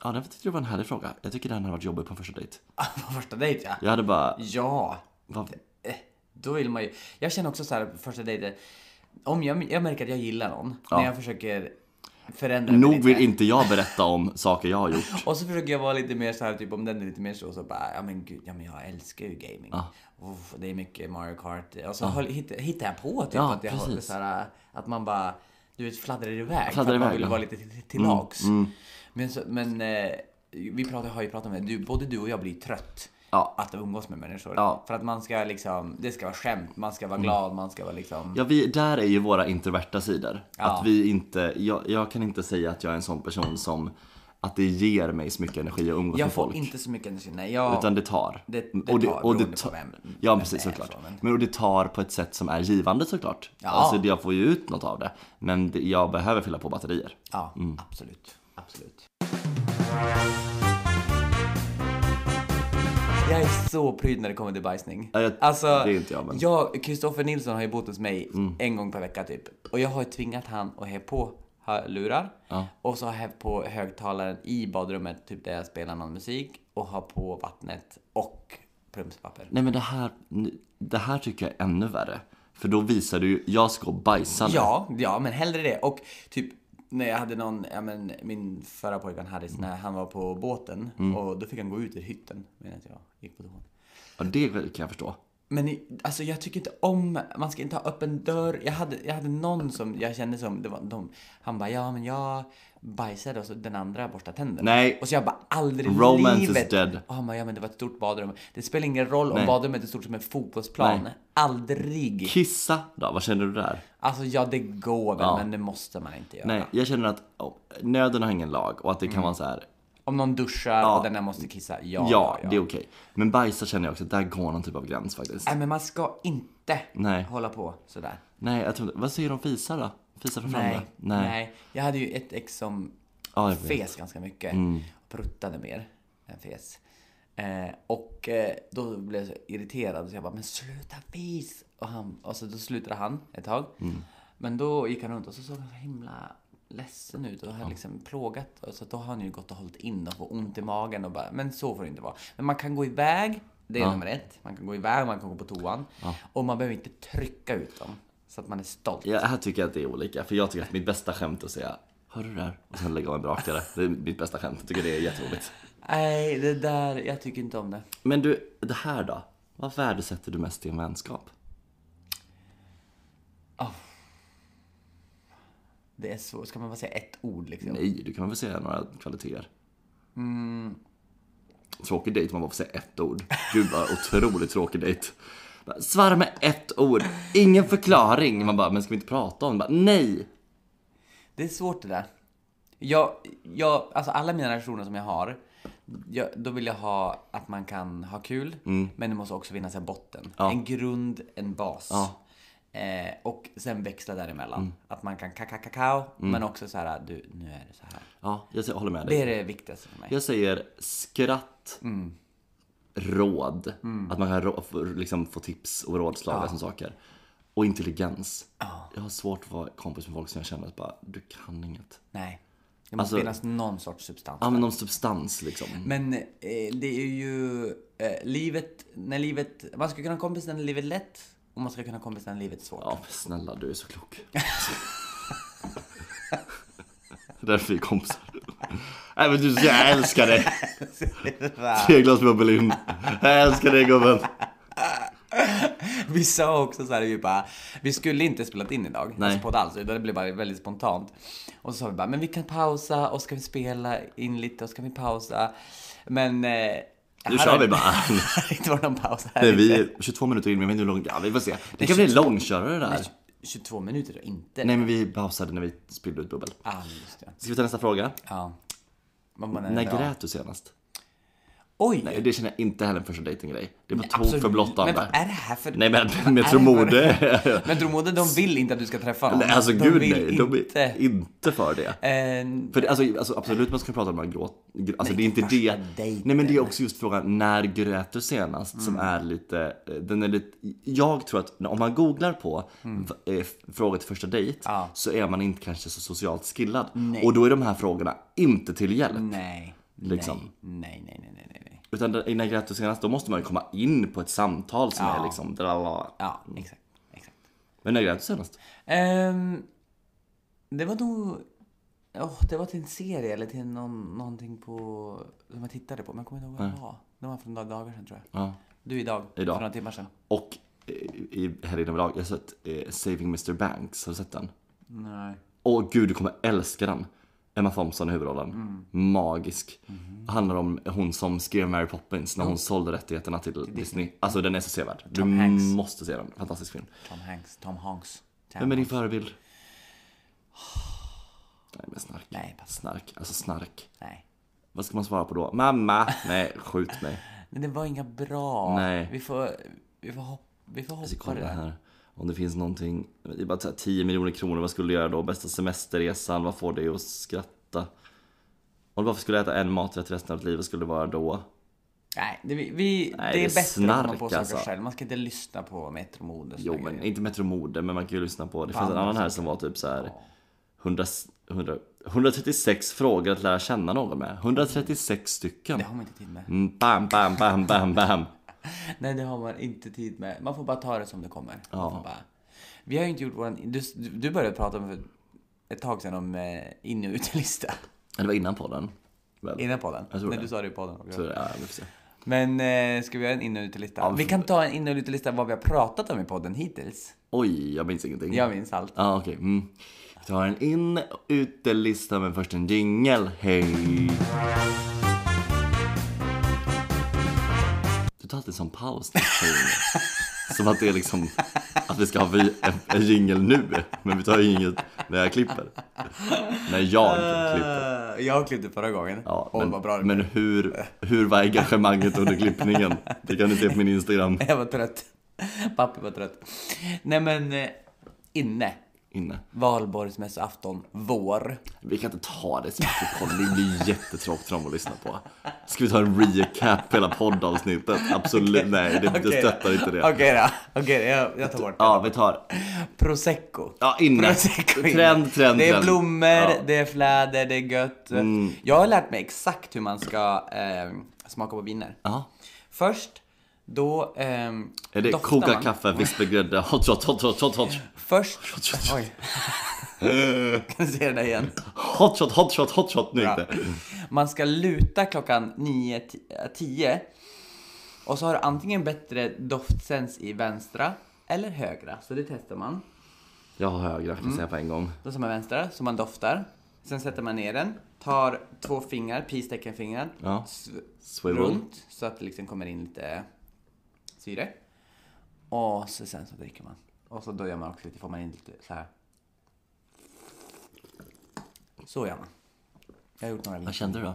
[SPEAKER 2] Ja, den tyckte jag var en härlig fråga. Jag tycker den har varit jobbig på en första dejt.
[SPEAKER 3] Oh, På första dejt ja.
[SPEAKER 2] Jag hade bara...
[SPEAKER 3] Ja.
[SPEAKER 2] Vad,
[SPEAKER 3] Eh, Då vill man ju. Jag känner också så här på första dejten. Om jag, jag märker att jag gillar någon. När jag försöker förändra mig
[SPEAKER 2] nog
[SPEAKER 3] lite.
[SPEAKER 2] vill inte jag berätta om saker jag har gjort.
[SPEAKER 3] Och så försöker jag vara lite mer så här, typ om den är lite mer så, så bara, ja men gud, ja men jag älskar ju gaming. Uff, det är mycket Mario Kart. Och så håll, hitt, hittar jag på typ
[SPEAKER 2] Ja,
[SPEAKER 3] att jag håller
[SPEAKER 2] precis.
[SPEAKER 3] så här, att man bara, du vet fladdrar iväg.
[SPEAKER 2] Fladdrar
[SPEAKER 3] för att man
[SPEAKER 2] iväg,
[SPEAKER 3] vill
[SPEAKER 2] ja. Mm,
[SPEAKER 3] vara lite till, till lags. Men, så, men eh, vi pratar, har ju pratat om det, du, både du och jag blir trött.
[SPEAKER 2] Ja.
[SPEAKER 3] Att umgås med människor.
[SPEAKER 2] Ja. Mm.
[SPEAKER 3] För att man ska liksom, det ska vara skämt, man ska vara glad, man ska vara liksom...
[SPEAKER 2] Ja, vi, där är ju våra introverta sidor.
[SPEAKER 3] Ja.
[SPEAKER 2] Att vi inte, jag, jag kan inte säga att jag är en sån person som, att det ger mig så mycket energi att umgås
[SPEAKER 3] Jag
[SPEAKER 2] med
[SPEAKER 3] får
[SPEAKER 2] folk.
[SPEAKER 3] inte så mycket energi. Nej, jag...
[SPEAKER 2] Utan det tar.
[SPEAKER 3] Det- det
[SPEAKER 2] och det,
[SPEAKER 3] tar,
[SPEAKER 2] och det
[SPEAKER 3] beroende på
[SPEAKER 2] tar-
[SPEAKER 3] vem-
[SPEAKER 2] Ja
[SPEAKER 3] vem
[SPEAKER 2] precis
[SPEAKER 3] det är
[SPEAKER 2] såklart.
[SPEAKER 3] från, men-
[SPEAKER 2] Men... och det tar på ett sätt som är givande såklart.
[SPEAKER 3] Ja.
[SPEAKER 2] Alltså det- jag får ju ut något av det. Men det, jag behöver fylla på batterier.
[SPEAKER 3] Ja,
[SPEAKER 2] Mm.
[SPEAKER 3] absolut. Absolut. Jag är så pryd när det kommer till bajsning. Alltså,
[SPEAKER 2] Ja, jag- det är inte jag, men- Mm.
[SPEAKER 3] jag, Kristoffer Nilsson har ju bott hos mig en gång per vecka typ. Och jag har ju tvingat han att ha på hörlurar. Och så har jag haft på högtalaren i badrummet, typ där jag spelar någon musik. Och ha på vattnet och plumspapper.
[SPEAKER 2] Nej men det här, det här tycker jag är ännu värre. För då visar du ju, jag ska gå bajsande.
[SPEAKER 3] Ja, ja men hellre det. Och typ när jag hade någon, ja men min förra pojkvän
[SPEAKER 2] Mm.
[SPEAKER 3] Harris, när han var på båten och då fick han gå ut ur hytten medan jag gick på toan.
[SPEAKER 2] Ja, det kan jag förstå.
[SPEAKER 3] Men i- alltså jag tycker inte om, man ska inte ha öppen dörr. Jag hade, jag hade någon som jag kände som, det var de, han bara ja men jag bajsade och så den andra borstade tänderna.
[SPEAKER 2] Nej.
[SPEAKER 3] Och så jag bara aldrig i
[SPEAKER 2] Romance is
[SPEAKER 3] livet.
[SPEAKER 2] dead.
[SPEAKER 3] Och han bara ja men det var ett stort badrum. Det spelar ingen roll om
[SPEAKER 2] Nej.
[SPEAKER 3] badrummet är stort som en fotbollsplan.
[SPEAKER 2] Nej.
[SPEAKER 3] Aldrig.
[SPEAKER 2] Kissa då, vad känner du där?
[SPEAKER 3] Alltså ja det går väl
[SPEAKER 2] Ja.
[SPEAKER 3] men det måste man inte göra.
[SPEAKER 2] Nej, jag känner att oh, nöden har ingen lag och att det kan vara så här.
[SPEAKER 3] Om någon duschar
[SPEAKER 2] Ja.
[SPEAKER 3] och den där måste kissa, ja.
[SPEAKER 2] Mm. ja, det är okej. Men bajsa känner jag också, där går någon typ av gräns faktiskt.
[SPEAKER 3] Nej men man ska inte
[SPEAKER 2] Nej.
[SPEAKER 3] hålla på sådär.
[SPEAKER 2] Nej, jag tror inte. Vad säger du om fisar då? Fisar för
[SPEAKER 3] Nej,
[SPEAKER 2] fram
[SPEAKER 3] nej.
[SPEAKER 2] det? Nej.
[SPEAKER 3] Jag hade ju ett ex som
[SPEAKER 2] Ja, jag vet. Mm.
[SPEAKER 3] fes ganska mycket. Och pruttade mer än fes. Eh, och eh, då blev jag så irriterad så jag bara, men sluta fis! Och, han, och så då slutade han ett tag.
[SPEAKER 2] Mm.
[SPEAKER 3] Men då gick han runt och så såg han så himla ledsen ut och hade liksom plågat. Och så då har han ju gått och hållit in och fått ont i magen och bara, men så får det inte vara. Men man kan gå iväg, det är nummer ett. Man kan gå iväg, man kan gå på toan. Och man behöver inte trycka ut dem. Så att man är stolt.
[SPEAKER 2] Ja, här tycker jag att det är olika, för jag tycker att mitt bästa skämt är att säga Hör du det här? Och sen lägga av en brakare. Det är mitt bästa skämt. Jag tycker det är jätteroligt.
[SPEAKER 3] Nej, det där, jag tycker inte om det.
[SPEAKER 2] Men du, det här då? Vad värdesätter du mest i en vänskap?
[SPEAKER 3] Det är så, ska man bara säga ett ord liksom?
[SPEAKER 2] Nej, du kan väl säga några kvaliteter? Tråkig dejt om man bara får säga ett ord. Gud vad otroligt tråkig dejt. Bara, Svara med ett ord. Ingen förklaring. Man bara, men ska vi inte prata om det? Bara, Nej!
[SPEAKER 3] Det är svårt det där. Jag, jag, alltså alla mina relationer som jag har, jag, då vill jag ha att man kan ha kul,
[SPEAKER 2] Mm.
[SPEAKER 3] men det måste också finnas en botten. En grund, en bas. Eh, och sen växla däremellan.
[SPEAKER 2] Mm.
[SPEAKER 3] Att man kan kakakakao, men också så här, du, nu är det så här.
[SPEAKER 2] Ja, jag säger- håller med dig.
[SPEAKER 3] Det är det viktigaste för mig.
[SPEAKER 2] Jag säger skratt, råd. Att man kan rå, få- liksom få tips och rådslag som saker. Och intelligens. Jag har svårt att vara kompis med folk som jag känner att bara, du kan inget.
[SPEAKER 3] Nej. Det måste
[SPEAKER 2] Alltså-
[SPEAKER 3] finnas någon sorts substans.
[SPEAKER 2] Ja men någon substans liksom.
[SPEAKER 3] Men eh, det är ju eh, livet, när livet, man ska kunna ha kompisar när livet är lätt och man ska kunna ha kompisar när livet är svårt.
[SPEAKER 2] Ja men snälla du är så klok. Därför är vi kompisar. Nej men du, jag älskar dig. Tre glas bubbel in. Jag älskar dig gubben.
[SPEAKER 3] Vi sa också så här, vi bara, vi skulle inte spelat in idag,
[SPEAKER 2] Nej.
[SPEAKER 3] alltså podd alls, utan det blev bara väldigt spontant. Och så sa vi bara, men vi kan pausa och ska vi spela in lite och ska vi pausa. Men... Eh,
[SPEAKER 2] Nu
[SPEAKER 3] här
[SPEAKER 2] kör
[SPEAKER 3] har-
[SPEAKER 2] vi bara.
[SPEAKER 3] Här har inte varit någon paus här.
[SPEAKER 2] Nej, vi är 22 minuter in men jag vet inte hur långt, ja vi får se. Det kan bli en långkörare det här.
[SPEAKER 3] 22 minuter och inte.
[SPEAKER 2] Nej men vi pausade när vi spillde ut bubbel.
[SPEAKER 3] Ah, men just det.
[SPEAKER 2] Ska vi ta nästa fråga?
[SPEAKER 3] Ja. Man bara,
[SPEAKER 2] När
[SPEAKER 3] nej, bra.
[SPEAKER 2] grät du senast?
[SPEAKER 3] Oj!
[SPEAKER 2] Nej, det känner jag inte heller för första dejtinggrej. Det var tok
[SPEAKER 3] absolut.
[SPEAKER 2] för
[SPEAKER 3] Men vad
[SPEAKER 2] blottande.
[SPEAKER 3] är det här för...
[SPEAKER 2] Nej men
[SPEAKER 3] är det för-
[SPEAKER 2] Metromode.
[SPEAKER 3] Men Dromode, de vill inte att du ska träffa dem.
[SPEAKER 2] Alltså
[SPEAKER 3] de
[SPEAKER 2] gud
[SPEAKER 3] vill
[SPEAKER 2] nej, de
[SPEAKER 3] inte.
[SPEAKER 2] är inte för det.
[SPEAKER 3] Eh,
[SPEAKER 2] För det, alltså, alltså absolut man ska prata om att gråta. Alltså det är inte
[SPEAKER 3] inte
[SPEAKER 2] det.
[SPEAKER 3] första dejten. Mm.
[SPEAKER 2] Nej men det är också just frågan när grät du senast som är lite, eh, den är lite, jag tror att om man googlar på mm. frågor till första dejt
[SPEAKER 3] Ja.
[SPEAKER 2] så är man inte kanske så socialt skillad. Och då är de här frågorna inte till hjälp.
[SPEAKER 3] nej.
[SPEAKER 2] Liksom.
[SPEAKER 3] Nej, nej, nej, nej, nej, nej.
[SPEAKER 2] Utan det- när grät du senast då måste man ju komma in på ett samtal som är liksom dralala.
[SPEAKER 3] Ja, exakt. exakt.
[SPEAKER 2] Men när grät du senast?
[SPEAKER 3] Ehm, det var nog... åh, det var till en serie eller till någon, någonting på... Som jag tittade på, men jag kommer inte ihåg vad det var. Det var för några dagar sedan tror jag.
[SPEAKER 2] Ja.
[SPEAKER 3] Du idag,
[SPEAKER 2] Idag.
[SPEAKER 3] för några timmar sedan.
[SPEAKER 2] Och eh, i, här inne överlag, jag har sett eh, Saving Mr Banks, har du sett den?
[SPEAKER 3] Nej.
[SPEAKER 2] Åh gud, du kommer älska den. Emma Thompson i huvudrollen.
[SPEAKER 3] Mm.
[SPEAKER 2] Magisk. Handlar om hon som skrev Mary Poppins när hon sålde rättigheterna till Disney. Alltså den är så sevärd. Du
[SPEAKER 3] Tom Hanks.
[SPEAKER 2] måste se den. Fantastisk film.
[SPEAKER 3] Tom Hanks. Tom Hanks. Tom
[SPEAKER 2] Vem är din
[SPEAKER 3] Hanks.
[SPEAKER 2] förebild? Nej men snark.
[SPEAKER 3] Nej, pass.
[SPEAKER 2] Snark. Alltså snark.
[SPEAKER 3] Nej.
[SPEAKER 2] Vad ska man svara på då? Mamma! Nej, skjut mig.
[SPEAKER 3] Men det var inga bra.
[SPEAKER 2] Nej.
[SPEAKER 3] Vi får, vi får, hopp, vi får hoppa
[SPEAKER 2] Jag ska kolla
[SPEAKER 3] det där.
[SPEAKER 2] här. Om det finns någonting. Det är bara så här 10 miljoner kronor, vad skulle du göra då? Bästa semesterresan, vad får dig att skratta? Om du bara skulle äta en maträtt resten av livet, skulle det vara då?
[SPEAKER 3] Nej, det, vi, vi,
[SPEAKER 2] Nej,
[SPEAKER 3] det är
[SPEAKER 2] det är
[SPEAKER 3] bättre att komma
[SPEAKER 2] snark,
[SPEAKER 3] på saker
[SPEAKER 2] alltså.
[SPEAKER 3] själv. Man ska inte lyssna på Metro Mode. och
[SPEAKER 2] Jo
[SPEAKER 3] såna
[SPEAKER 2] men
[SPEAKER 3] grejer.
[SPEAKER 2] inte Metro Mode, men man kan ju lyssna på. Det fanns en
[SPEAKER 3] andra
[SPEAKER 2] annan här som var typ så här 100, 100, 136 frågor att lära känna någon med. 136 stycken.
[SPEAKER 3] Det har man inte tid med.
[SPEAKER 2] Mm, bam, bam, bam, bam, bam.
[SPEAKER 3] Nej, det har man inte tid med. Man får bara ta det som det kommer. Man får bara... Vi har ju inte gjort våran... Du, du började prata om för ett tag sedan om eh, in och utelista.
[SPEAKER 2] Ja, Det var innan podden. Väl?
[SPEAKER 3] Innan podden.
[SPEAKER 2] tror
[SPEAKER 3] När
[SPEAKER 2] det.
[SPEAKER 3] du sa det i podden.
[SPEAKER 2] Så, ja, vi får se.
[SPEAKER 3] Men eh, ska vi göra en in och utelista?
[SPEAKER 2] Ja, men-
[SPEAKER 3] Vi kan ta en in och utelista vad vi har pratat om i podden hittills.
[SPEAKER 2] Oj, jag minns ingenting.
[SPEAKER 3] Jag minns allt.
[SPEAKER 2] Ja, okej. Mm. Vi tar en in och utelista men först en jingel. Hej! Du tar alltid som paus när du tar jingel. Som att det är liksom att vi ska ha vi- en, en jingel nu. Men vi tar ju jingel när jag klipper. När jag klipper.
[SPEAKER 3] Eh, jag klippte förra gången.
[SPEAKER 2] Ja,
[SPEAKER 3] Åh,
[SPEAKER 2] men
[SPEAKER 3] vad bra det
[SPEAKER 2] men hur, hur var engagemanget under klippningen? Det kan ni se på min Instagram.
[SPEAKER 3] Jag var trött. Pappi var trött. Nej men, eh, inne.
[SPEAKER 2] Inne.
[SPEAKER 3] Valborgsmässoafton, vår.
[SPEAKER 2] Vi kan inte ta det så mycket på podden, det blir jättetråkigt för dem att lyssna på. Ska vi ta en recap på hela poddavsnittet? Absolut, nej, det, jag
[SPEAKER 3] Okej.
[SPEAKER 2] stöttar inte det.
[SPEAKER 3] Okej då, okej jag, jag tar bort det.
[SPEAKER 2] Ja, vi tar...
[SPEAKER 3] Prosecco.
[SPEAKER 2] Ja, inne.
[SPEAKER 3] Prosecco inne.
[SPEAKER 2] Trend, trend,
[SPEAKER 3] Det är
[SPEAKER 2] trend.
[SPEAKER 3] blommor,
[SPEAKER 2] Ja. Mm.
[SPEAKER 3] det är fläder, det är gött. Jag har lärt mig exakt hur man ska eh, smaka på viner.
[SPEAKER 2] Ja.
[SPEAKER 3] Först, då ehm,
[SPEAKER 2] Är det
[SPEAKER 3] doftar
[SPEAKER 2] koka
[SPEAKER 3] man.
[SPEAKER 2] kaffe, vispegrädde, hot, hot, hot, hot, hot, hot,
[SPEAKER 3] Först... Oj. kan du se det där igen?
[SPEAKER 2] hot, hot, hot, hot, hot, hot, nu gick det.
[SPEAKER 3] Man ska luta klockan 9, ti- äh, 10 och så har du antingen bättre doftsens i vänstra eller högra. Så det testar man.
[SPEAKER 2] Jag har högra,
[SPEAKER 3] Mm.
[SPEAKER 2] kan jag säga på en gång.
[SPEAKER 3] Då som man vänstra, så man doftar. Sen sätter man ner den, tar två fingrar, pisteckenfingrar,
[SPEAKER 2] Ja.
[SPEAKER 3] s-
[SPEAKER 2] Swivel.
[SPEAKER 3] runt så att det liksom kommer in lite syre. Och så sen så dricker man. Och så då gör man också lite, får man in lite så här. Så gör man. Jag har gjort några
[SPEAKER 2] Vad
[SPEAKER 3] vin.
[SPEAKER 2] kände du då?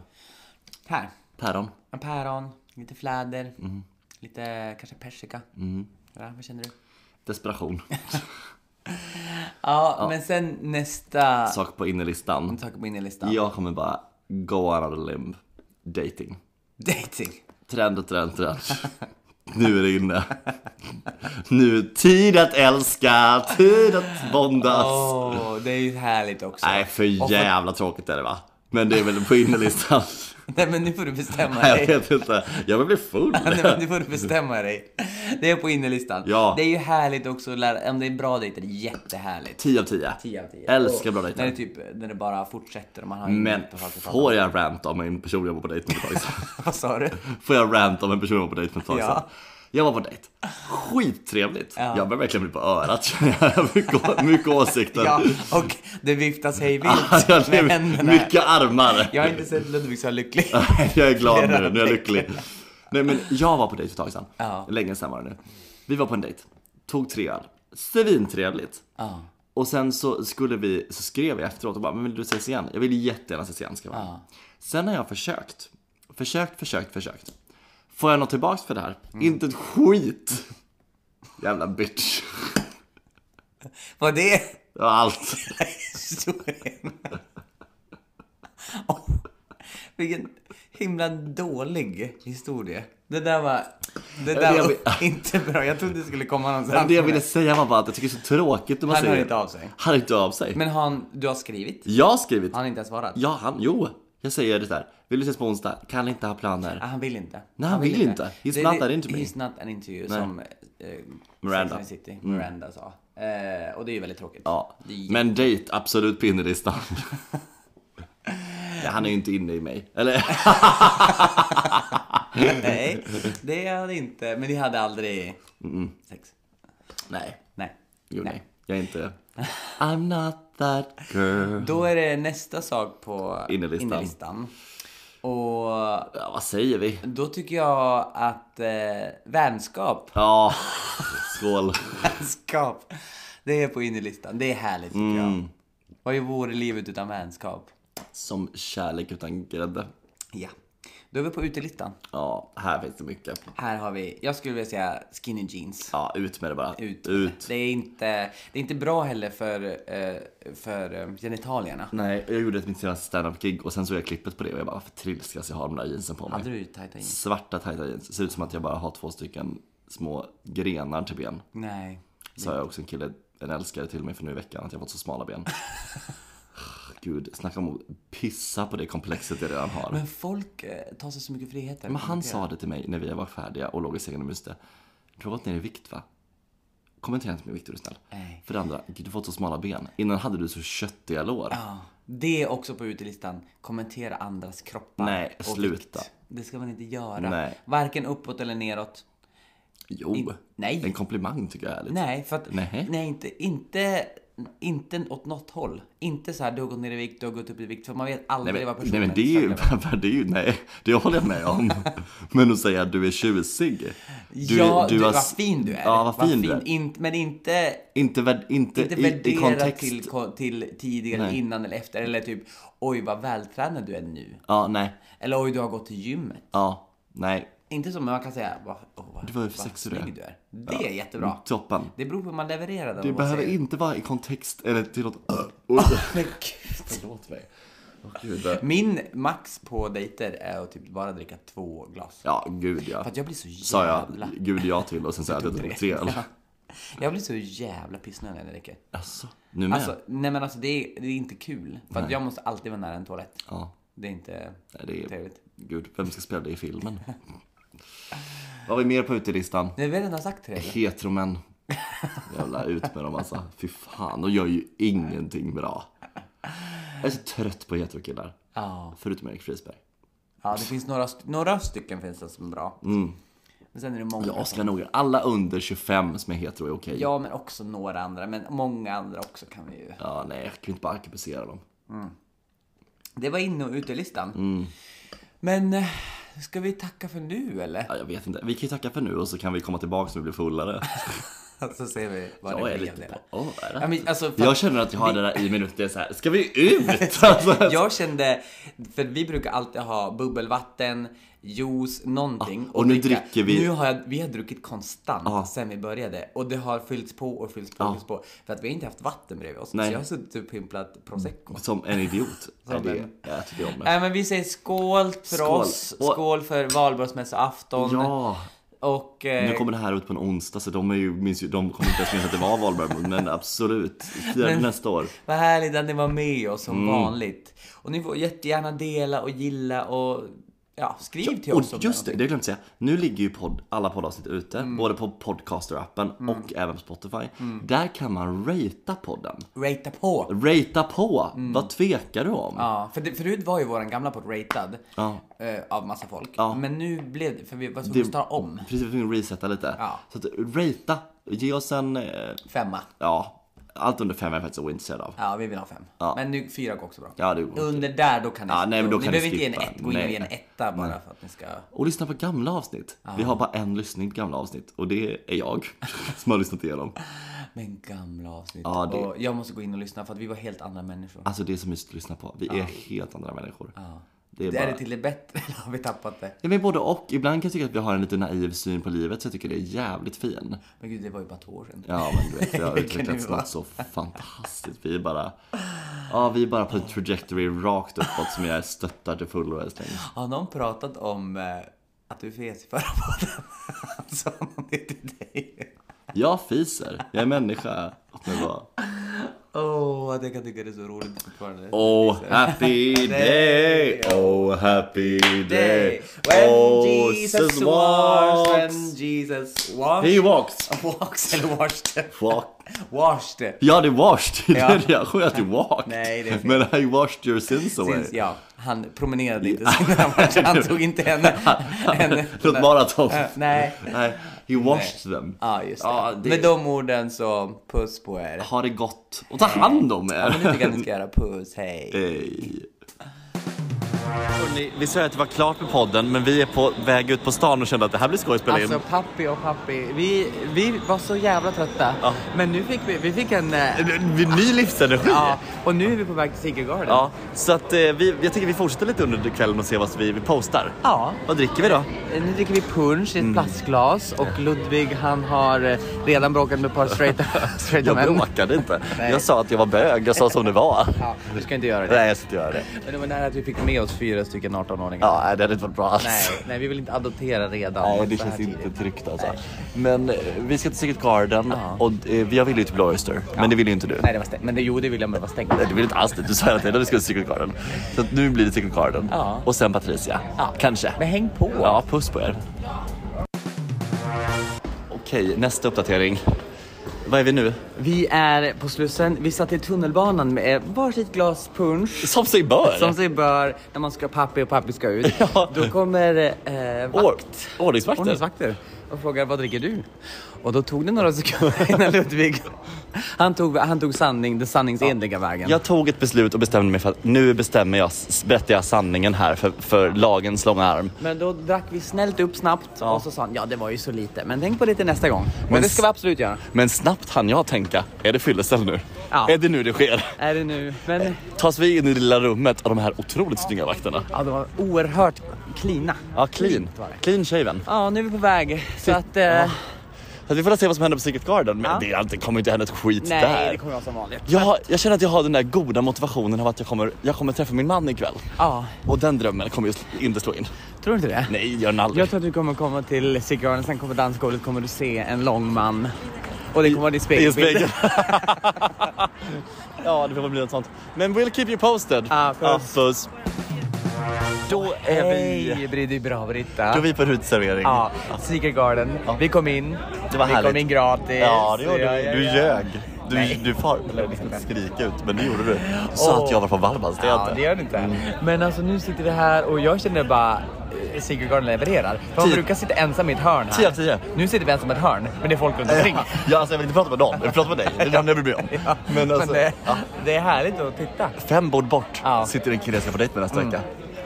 [SPEAKER 3] Här.
[SPEAKER 2] Päron?
[SPEAKER 3] En päron, lite fläder,
[SPEAKER 2] Mm.
[SPEAKER 3] lite kanske persika. Ja, vad känner du?
[SPEAKER 2] Desperation.
[SPEAKER 3] Ja, men sen nästa
[SPEAKER 2] Sak på innerlistan.
[SPEAKER 3] sak på innerlistan.
[SPEAKER 2] Jag kommer bara go out on a limb. Dating.
[SPEAKER 3] Dating.
[SPEAKER 2] Trend och trend, trend. Nu är det inne. Nu är tid att älska, tid att bondas.
[SPEAKER 3] Åh, det är ju härligt också.
[SPEAKER 2] Alltså. Nej, för jävla tråkigt är det va? Men det är väl på innerlistan.
[SPEAKER 3] Nej, men nu får du bestämma
[SPEAKER 2] Nej, jag
[SPEAKER 3] dig.
[SPEAKER 2] vet inte. Jag vill bli full.
[SPEAKER 3] Nej, men nu får du bestämma dig. Det är på innerlistan.
[SPEAKER 2] Ja.
[SPEAKER 3] Det är ju härligt också att lära, om det är bra dejter, det är jättehärligt.
[SPEAKER 2] 10 av 10.
[SPEAKER 3] 10 av 10.
[SPEAKER 2] Älskar bra
[SPEAKER 3] Och När det,
[SPEAKER 2] dejter.
[SPEAKER 3] typ, när det bara fortsätter och man har
[SPEAKER 2] Men
[SPEAKER 3] inget att prata om.
[SPEAKER 2] får jag rant om en person jag var på dejt med för ett tag sedan?
[SPEAKER 3] Vad sa du?
[SPEAKER 2] Får jag rant om en person jag var på dejt med ett tag sedan?
[SPEAKER 3] Ja.
[SPEAKER 2] Jag var på dejt. Skittrevligt. Jag börjar verkligen bli på örat känner jag. Jag har mycket, mycket åsikter.
[SPEAKER 3] Ja, och det viftas hej
[SPEAKER 2] Ja,
[SPEAKER 3] vilt
[SPEAKER 2] det
[SPEAKER 3] med
[SPEAKER 2] är
[SPEAKER 3] händerna.
[SPEAKER 2] mycket armar.
[SPEAKER 3] Jag har inte sett Ludvig så lycklig.
[SPEAKER 2] jag är glad
[SPEAKER 3] Flera
[SPEAKER 2] nu, nu är jag lycklig. Nej men jag var på dejt för ett tag sedan.
[SPEAKER 3] Ja.
[SPEAKER 2] Länge sedan var det nu. Vi var på en dejt, tog tre öl. Svintrevligt.
[SPEAKER 3] Ja.
[SPEAKER 2] Och sen så skulle vi, så skrev jag efteråt och bara, men vill du ses igen? Jag vill jättegärna ses igen ska jag vara. Sen har jag försökt, försökt, försökt, försökt. Får jag något tillbaks för det här?
[SPEAKER 3] Mm.
[SPEAKER 2] Inte ett skit! Jävla bitch.
[SPEAKER 3] Var det
[SPEAKER 2] Det var allt.
[SPEAKER 3] historien? Åh, vilken himla dålig historia. Det där var, det
[SPEAKER 2] det
[SPEAKER 3] där
[SPEAKER 2] jag
[SPEAKER 3] var
[SPEAKER 2] vill-
[SPEAKER 3] inte bra. Jag trodde det skulle komma någonstans.
[SPEAKER 2] Men det jag ville säga var bara att jag tycker det är så tråkigt när man
[SPEAKER 3] Han
[SPEAKER 2] säger
[SPEAKER 3] hör inte av sig.
[SPEAKER 2] Han hör inte av sig.
[SPEAKER 3] Men har han, du har skrivit?
[SPEAKER 2] Jag har skrivit
[SPEAKER 3] Han har inte ens svarat?
[SPEAKER 2] Ja, han, jo. Jag säger det där. Vill du ses på onsdag? Kan inte ha planer.
[SPEAKER 3] Ah, han vill inte.
[SPEAKER 2] Nej, han vill inte. He's
[SPEAKER 3] Det-
[SPEAKER 2] not
[SPEAKER 3] det-
[SPEAKER 2] an interview.
[SPEAKER 3] He's not an interview som eh,
[SPEAKER 2] Miranda. Mm.
[SPEAKER 3] Sex and the City, Miranda sa. Eh, och det är ju väldigt tråkigt.
[SPEAKER 2] Ja.
[SPEAKER 3] Det är
[SPEAKER 2] Men dejt, absolut på innerlistan. Ja, han är ju inte inne i mig. Eller?
[SPEAKER 3] Nej, det hade inte. Men ni hade aldrig sex?
[SPEAKER 2] Nej.
[SPEAKER 3] Nej.
[SPEAKER 2] Jo, nej.
[SPEAKER 3] Nej.
[SPEAKER 2] Jag är inte... I'm not that girl.
[SPEAKER 3] Då är det nästa sak på
[SPEAKER 2] Innerlistan.
[SPEAKER 3] Och
[SPEAKER 2] Ja, vad säger vi?
[SPEAKER 3] då tycker jag att eh, vänskap,
[SPEAKER 2] Ja, skål.
[SPEAKER 3] vänskap, det är på innerlistan. Det är härligt tycker
[SPEAKER 2] Mm.
[SPEAKER 3] jag. Vad vore livet utan vänskap?
[SPEAKER 2] Som kärlek utan grädde.
[SPEAKER 3] Ja. Då är vi på utelistan.
[SPEAKER 2] Ja, här finns det mycket.
[SPEAKER 3] Här har vi, jag skulle vilja säga skinny jeans.
[SPEAKER 2] Ja, ut med det bara.
[SPEAKER 3] Ut.
[SPEAKER 2] ut.
[SPEAKER 3] Det, är inte, det är inte bra heller för, eh, för eh, genitalierna.
[SPEAKER 2] Nej, jag gjorde ett mitt senaste stand-up-gig och sen såg jag klippet på det och jag bara, varför trilskas jag har de där jeansen på mig?
[SPEAKER 3] Hade du tajta jeans?
[SPEAKER 2] svarta tajta jeans. Ser ut som att jag bara har två stycken små grenar till ben.
[SPEAKER 3] Nej.
[SPEAKER 2] Sa jag också en kille, en älskare till mig för nu i veckan att jag fått så smala ben. Gud, snacka om att pissa på det komplexet jag redan har. Men,
[SPEAKER 3] Men folk eh, tar sig så mycket friheter.
[SPEAKER 2] han sa det till mig när vi var färdiga och låg i sängen och myste. Du har gått ner i vikt va? Kommentera inte min vikt är du snäll.
[SPEAKER 3] Nej.
[SPEAKER 2] För det andra, gud, du har fått så smala ben. Innan hade du så köttiga lår.
[SPEAKER 3] Ja, det är också på utelistan. Kommentera andras kroppar.
[SPEAKER 2] Nej,
[SPEAKER 3] och
[SPEAKER 2] sluta.
[SPEAKER 3] vikt. Det ska man inte göra.
[SPEAKER 2] Nej.
[SPEAKER 3] Varken uppåt eller neråt.
[SPEAKER 2] Jo.
[SPEAKER 3] I- nej.
[SPEAKER 2] En komplimang tycker jag är lite.
[SPEAKER 3] Nej, för att...
[SPEAKER 2] Nej.
[SPEAKER 3] Nej, inte, inte, inte åt något håll. Inte så här, du har gått ner i vikt, du har gått upp i vikt. För man vet aldrig
[SPEAKER 2] Nej men,
[SPEAKER 3] vad personen
[SPEAKER 2] nej, men det är ju,
[SPEAKER 3] försöker vara.
[SPEAKER 2] det är ju, nej, det håller jag med om. Men att säga att du är tjusig. Du,
[SPEAKER 3] ja, du,
[SPEAKER 2] har
[SPEAKER 3] vad
[SPEAKER 2] s-
[SPEAKER 3] fin du är.
[SPEAKER 2] Ja, vad fin du är.
[SPEAKER 3] In, men inte,
[SPEAKER 2] Inte, värd- inte,
[SPEAKER 3] inte
[SPEAKER 2] i, i
[SPEAKER 3] värdera
[SPEAKER 2] kontext.
[SPEAKER 3] till, ko- till tidigare,
[SPEAKER 2] Nej.
[SPEAKER 3] innan eller efter. Eller typ, oj vad vältränad du är nu.
[SPEAKER 2] Ja, nej.
[SPEAKER 3] Eller oj, du har gått till gymmet.
[SPEAKER 2] Ja, nej.
[SPEAKER 3] Inte som man kan säga, vad, åh, vad,
[SPEAKER 2] Du var ju
[SPEAKER 3] vad
[SPEAKER 2] sexig du
[SPEAKER 3] snygg
[SPEAKER 2] är.
[SPEAKER 3] du är. Det är jättebra.
[SPEAKER 2] Toppen.
[SPEAKER 3] Det beror på hur man levererar den.
[SPEAKER 2] Det
[SPEAKER 3] och vad
[SPEAKER 2] behöver
[SPEAKER 3] säger.
[SPEAKER 2] inte vara i kontext eller till något... Oj,
[SPEAKER 3] Men gud.
[SPEAKER 2] förlåt mig. Åh, gud. det-
[SPEAKER 3] Min max på dejter är att typ bara dricka två glas.
[SPEAKER 2] Ja, gud ja.
[SPEAKER 3] För att jag blir så jävla...
[SPEAKER 2] Sa jag gud ja till och sen sa jag att jag drog tre öl.
[SPEAKER 3] Jag blir så jävla pissnödig när jag dricker.
[SPEAKER 2] Alltså, nu med?
[SPEAKER 3] Alltså, nej men alltså det är, det är inte kul. För att jag måste alltid vara nära en toalett.
[SPEAKER 2] ja.
[SPEAKER 3] Det är inte
[SPEAKER 2] Nej, det är...
[SPEAKER 3] trevligt.
[SPEAKER 2] Gud, vem ska spela det i filmen? Vad har vi mer på utelistan?
[SPEAKER 3] Nej, vi har redan sagt tre.
[SPEAKER 2] Heteromän. Jävla ut med dem alltså. Fy fan, de gör ju ingenting bra. Jag är så trött på heterokillar.
[SPEAKER 3] Ja.
[SPEAKER 2] Förutom Erik Frisberg.
[SPEAKER 3] Ja, det finns några, st- några stycken finns det som är bra. Men sen är det många.
[SPEAKER 2] Mm. Ja, Oskar Norgren. Alla under 25 som är hetero är okej.
[SPEAKER 3] Ja, men också några andra. Men många andra också kan vi ju.
[SPEAKER 2] Ja, nej, jag kan inte bara arkebusera dem.
[SPEAKER 3] Det var inne och utelistan.
[SPEAKER 2] Mm.
[SPEAKER 3] Men eh, ska vi tacka för nu eller?
[SPEAKER 2] Ja, jag vet inte. Vi kan ju tacka för nu och så kan vi komma tillbaka när vi blir fullare.
[SPEAKER 3] Så ser vi vad
[SPEAKER 2] Jag
[SPEAKER 3] det
[SPEAKER 2] är
[SPEAKER 3] blev. det
[SPEAKER 2] lite på...
[SPEAKER 3] där.
[SPEAKER 2] Åh, är det?
[SPEAKER 3] Ja, men, alltså, för
[SPEAKER 2] Jag känner att jag har det där i mig nu. Det är så här, ska vi ut? Alltså,
[SPEAKER 3] jag kände, för vi brukar alltid ha bubbelvatten, juice, någonting.
[SPEAKER 2] Ah, och nu dricker vi- Ah.
[SPEAKER 3] Nu har jag, vi har druckit konstant
[SPEAKER 2] Ja.
[SPEAKER 3] sen vi började. Och det har fyllts på och fyllts på och fyllts på. För att vi har inte haft vatten bredvid oss.
[SPEAKER 2] Ah. Nej. Mm.
[SPEAKER 3] Så jag har suttit och pimplat prosecco.
[SPEAKER 2] som en idiot. Nej, det,
[SPEAKER 3] en- Äh,
[SPEAKER 2] jag tycker om det.
[SPEAKER 3] Nej men vi säger skål för
[SPEAKER 2] Skål.
[SPEAKER 3] oss,
[SPEAKER 2] Och-
[SPEAKER 3] skål för valborgsmässoafton
[SPEAKER 2] Ja,
[SPEAKER 3] och... eh,
[SPEAKER 2] nu kommer det här ut på en onsdag så de, är ju, minns ju, de kommer inte ens minnas att det var valborg. Men absolut, fira det
[SPEAKER 3] Men-
[SPEAKER 2] nästa år.
[SPEAKER 3] Vad härligt att ni var med oss som
[SPEAKER 2] Mm.
[SPEAKER 3] vanligt. Och ni får jättegärna dela och gilla och ja, skriv till
[SPEAKER 2] Och
[SPEAKER 3] oss om Mm.
[SPEAKER 2] just det, det har jag glömt säga. Nu ligger ju podd, alla poddavsnitt ute, både på Podcaster-appen och även på Spotify. Där kan man ratea podden.
[SPEAKER 3] Ratea på!
[SPEAKER 2] Ratea på! Vad tvekar du om?
[SPEAKER 3] Mm. Ja, för det, förut var ju våran gamla podd ratad
[SPEAKER 2] Ja.
[SPEAKER 3] eh, av massa folk.
[SPEAKER 2] Ja.
[SPEAKER 3] Men nu blev det, för vi var tvungna att starta om.
[SPEAKER 2] Precis, vi får resetta lite.
[SPEAKER 3] Ja.
[SPEAKER 2] Så att, ratea, ge oss en, eh,
[SPEAKER 3] Femma.
[SPEAKER 2] ja, allt under fem är jag faktiskt ointresserad av.
[SPEAKER 3] Ja, vi vill ha fem. Men nu, fyra går också bra.
[SPEAKER 2] Ja, det går.
[SPEAKER 3] Under där då kan ni
[SPEAKER 2] Ja, nej, men då
[SPEAKER 3] Ni
[SPEAKER 2] kan ni
[SPEAKER 3] behöver inte ge en
[SPEAKER 2] skippa.
[SPEAKER 3] ett, gå in och
[SPEAKER 2] Nej.
[SPEAKER 3] ge en etta bara för att ni ska...
[SPEAKER 2] Och lyssna på gamla avsnitt. Vi har bara en lyssning på gamla avsnitt och det är jag som har lyssnat igenom.
[SPEAKER 3] Men gamla avsnitt.
[SPEAKER 2] Ja, det-
[SPEAKER 3] Och jag måste gå in och lyssna för att vi var helt andra människor.
[SPEAKER 2] Alltså det är så mysigt att lyssna på. Vi är helt andra människor. Det är
[SPEAKER 3] det
[SPEAKER 2] bara...
[SPEAKER 3] Är det till det bättre eller har vi tappat det?
[SPEAKER 2] Ja, men både och. Ibland kan jag tycka att vi har en lite naiv syn på livet så jag tycker det är jävligt fin.
[SPEAKER 3] Men gud, det var ju bara två år sedan.
[SPEAKER 2] Ja men du vet, vi har
[SPEAKER 3] Det kan
[SPEAKER 2] utvecklats
[SPEAKER 3] ju vara.
[SPEAKER 2] något så fantastiskt. Vi är bara, ja vi är bara på en trajectory rakt uppåt som jag stöttar till fullo älskling.
[SPEAKER 3] Har någon pratat om eh, att du fes i förra podden? Sa någon det till dig?
[SPEAKER 2] Jag fiser, jag är människa. Låt mig vara.
[SPEAKER 3] Åh, oh, att jag kan tycka det är så roligt fortfarande.
[SPEAKER 2] Oh happy day, oh happy day.
[SPEAKER 3] Day. When
[SPEAKER 2] Oh
[SPEAKER 3] Jesus
[SPEAKER 2] Jesus
[SPEAKER 3] was, when
[SPEAKER 2] walks.
[SPEAKER 3] Jesus was.
[SPEAKER 2] He walks.
[SPEAKER 3] Walks eller washed?
[SPEAKER 2] Walk.
[SPEAKER 3] Washed.
[SPEAKER 2] Ja det är washed, det är
[SPEAKER 3] Ja.
[SPEAKER 2] det jag sjöng att du walked.
[SPEAKER 3] Nej, det är fel.
[SPEAKER 2] Men I washed your sins away.
[SPEAKER 3] Syns, ja, han promenerade inte så när han var- han tog inte henne. henne
[SPEAKER 2] Låt maraton.
[SPEAKER 3] Eh, Nej.
[SPEAKER 2] Nej, he washed them.
[SPEAKER 3] Ja, just det.
[SPEAKER 2] Ja, det-
[SPEAKER 3] Med de orden så puss på er.
[SPEAKER 2] Ha det gott och ta hand om
[SPEAKER 3] Ja, men det
[SPEAKER 2] er!
[SPEAKER 3] tycker jag ni ska göra. Puss, hej.
[SPEAKER 2] Hej. Vi sa ju att det var klart med podden, men vi är på väg ut på stan och kände att det här blir skoj att spela
[SPEAKER 4] Alltså
[SPEAKER 2] in.
[SPEAKER 4] pappi och pappi, vi, vi var så jävla trötta.
[SPEAKER 2] Ja.
[SPEAKER 4] Men nu fick vi, vi fick en... eh,
[SPEAKER 2] Vi- Ny livsenergi!
[SPEAKER 4] Ja, och nu är vi på väg till Siggegarden.
[SPEAKER 2] Ja, så att eh, vi, jag tycker vi fortsätter lite under kvällen och ser vad vi, vi postar.
[SPEAKER 4] Ja.
[SPEAKER 2] Vad dricker vi då?
[SPEAKER 4] Eh, Nu dricker vi punch
[SPEAKER 2] Mm.
[SPEAKER 4] i ett plastglas och Ludvig han har eh, redan bråkat med ett par straighta, straighta
[SPEAKER 2] Jag
[SPEAKER 4] män.
[SPEAKER 2] bråkade inte.
[SPEAKER 4] Nej.
[SPEAKER 2] Jag sa att jag var bög, jag sa som det var.
[SPEAKER 4] Ja, du ska inte göra det.
[SPEAKER 2] Nej, jag ska inte göra det.
[SPEAKER 4] Men det var nära att vi fick med oss fyra stycken 18-åringar.
[SPEAKER 2] Ja, nej, det hade inte varit bra alls.
[SPEAKER 4] Nej, nej, vi vill inte adoptera redan.
[SPEAKER 2] Nej,
[SPEAKER 4] så
[SPEAKER 2] det
[SPEAKER 4] här
[SPEAKER 2] känns
[SPEAKER 4] tidigt.
[SPEAKER 2] inte tryggt alltså. Men eh, vi ska till Secret Garden och eh, jag ville ju till Blå Oyster, men det ville ju inte du.
[SPEAKER 4] Nej, det var stängt. Men det, jo, det vill jag, men det var stängt.
[SPEAKER 2] Nej, det vill inte alls det. Du sa hela tiden att vi skulle till Secret Garden. Så att nu blir det Secret Garden.
[SPEAKER 4] Ja.
[SPEAKER 2] Och sen Patricia.
[SPEAKER 4] Ja.
[SPEAKER 2] Kanske.
[SPEAKER 4] Men häng på.
[SPEAKER 2] Ja, puss på er. Okej, nästa uppdatering. Vad är vi nu?
[SPEAKER 3] Vi är på Slussen. Vi satt i tunnelbanan
[SPEAKER 4] eh,
[SPEAKER 3] med varsitt glas punsch.
[SPEAKER 2] Som sig bör!
[SPEAKER 3] Som sig bör när man ska pappi och pappi ska ut. Då kommer eh,
[SPEAKER 2] Or-
[SPEAKER 3] vakt,
[SPEAKER 2] Ordningsvakter.
[SPEAKER 3] ordningsvakter och frågar vad dricker du? Och då tog det några sekunder innan Ludvig, han tog, han tog sanning, den sanningsenliga vägen.
[SPEAKER 2] Jag tog ett beslut och bestämde mig för att nu bestämmer jag, berättar jag sanningen här för, för lagens långa arm.
[SPEAKER 3] Men då drack vi snällt upp snabbt och så sa han ja det var ju så lite men tänk på lite nästa gång.
[SPEAKER 2] Men
[SPEAKER 3] Men det ska
[SPEAKER 2] s-
[SPEAKER 3] vi absolut göra.
[SPEAKER 2] Men snabbt hann jag tänka, är det fyllecell nu?
[SPEAKER 3] Ja.
[SPEAKER 2] Är det nu det sker?
[SPEAKER 3] Är det nu? Men
[SPEAKER 2] Tas vi in i det lilla rummet av de här otroligt snygga vakterna?
[SPEAKER 3] ja, det var oerhört klina.
[SPEAKER 2] Ja, clean.
[SPEAKER 3] Var det.
[SPEAKER 2] Clean shaven.
[SPEAKER 3] Ja, nu är vi på väg. Så att, eh,
[SPEAKER 2] Så att vi får se vad som händer på Secret Garden. Men
[SPEAKER 3] Ja.
[SPEAKER 2] det, är alltid, kommer inte hända ett skit
[SPEAKER 3] nej,
[SPEAKER 2] där.
[SPEAKER 3] det kommer vara som vanligt.
[SPEAKER 2] jag, har- jag känner att jag har den där goda motivationen av att jag kommer, jag kommer träffa min man ikväll.
[SPEAKER 3] Ja,
[SPEAKER 2] Och den drömmen kommer just inte slå in.
[SPEAKER 3] tror du inte det?
[SPEAKER 2] Nej, gör den aldrig.
[SPEAKER 3] Jag tror att du kommer komma till Cigarren, sen kommer dansgolvet, kommer du se en lång man. Och det kommer vara din
[SPEAKER 2] I
[SPEAKER 3] spegelbild.
[SPEAKER 2] spegeln. ja, det får väl bli något sånt. Men we'll keep you posted.
[SPEAKER 3] Ja, puss.
[SPEAKER 2] puss. Då är vi,
[SPEAKER 3] Hej, Bridi bra Britta.
[SPEAKER 2] då är vi på en uteservering.
[SPEAKER 3] Ja, Secret Garden. Vi kom in.
[SPEAKER 2] Det var
[SPEAKER 3] vi
[SPEAKER 2] härligt.
[SPEAKER 3] kom in gratis.
[SPEAKER 2] Ja, det gjorde
[SPEAKER 3] Ja,
[SPEAKER 2] du.
[SPEAKER 3] ja,
[SPEAKER 2] Du
[SPEAKER 3] ja.
[SPEAKER 2] ljög. Du, du far, eller du ska inte skrika ut, men det gjorde du. Du sa
[SPEAKER 3] Åh.
[SPEAKER 2] att jag var från Vallmans, det är
[SPEAKER 3] Ja,
[SPEAKER 2] jag
[SPEAKER 3] det
[SPEAKER 2] inte.
[SPEAKER 3] gör du inte. Men alltså nu sitter vi här och jag känner bara eh, Secret Garden levererar. För man
[SPEAKER 2] Tio-
[SPEAKER 3] brukar sitta ensam i ett hörn här.
[SPEAKER 2] Tio av tio.
[SPEAKER 3] Nu sitter vi ensamma i ett hörn, men det är folk runt omkring.
[SPEAKER 2] Ja, alltså jag vill inte prata med någon, jag vill prata med dig. Det är den jag bryr mig om. Men alltså,
[SPEAKER 3] det,
[SPEAKER 2] ja.
[SPEAKER 3] det är härligt att titta.
[SPEAKER 2] fem bord bort
[SPEAKER 3] Ja. Mm.
[SPEAKER 2] sitter en kille jag ska på dejt med nästa vecka.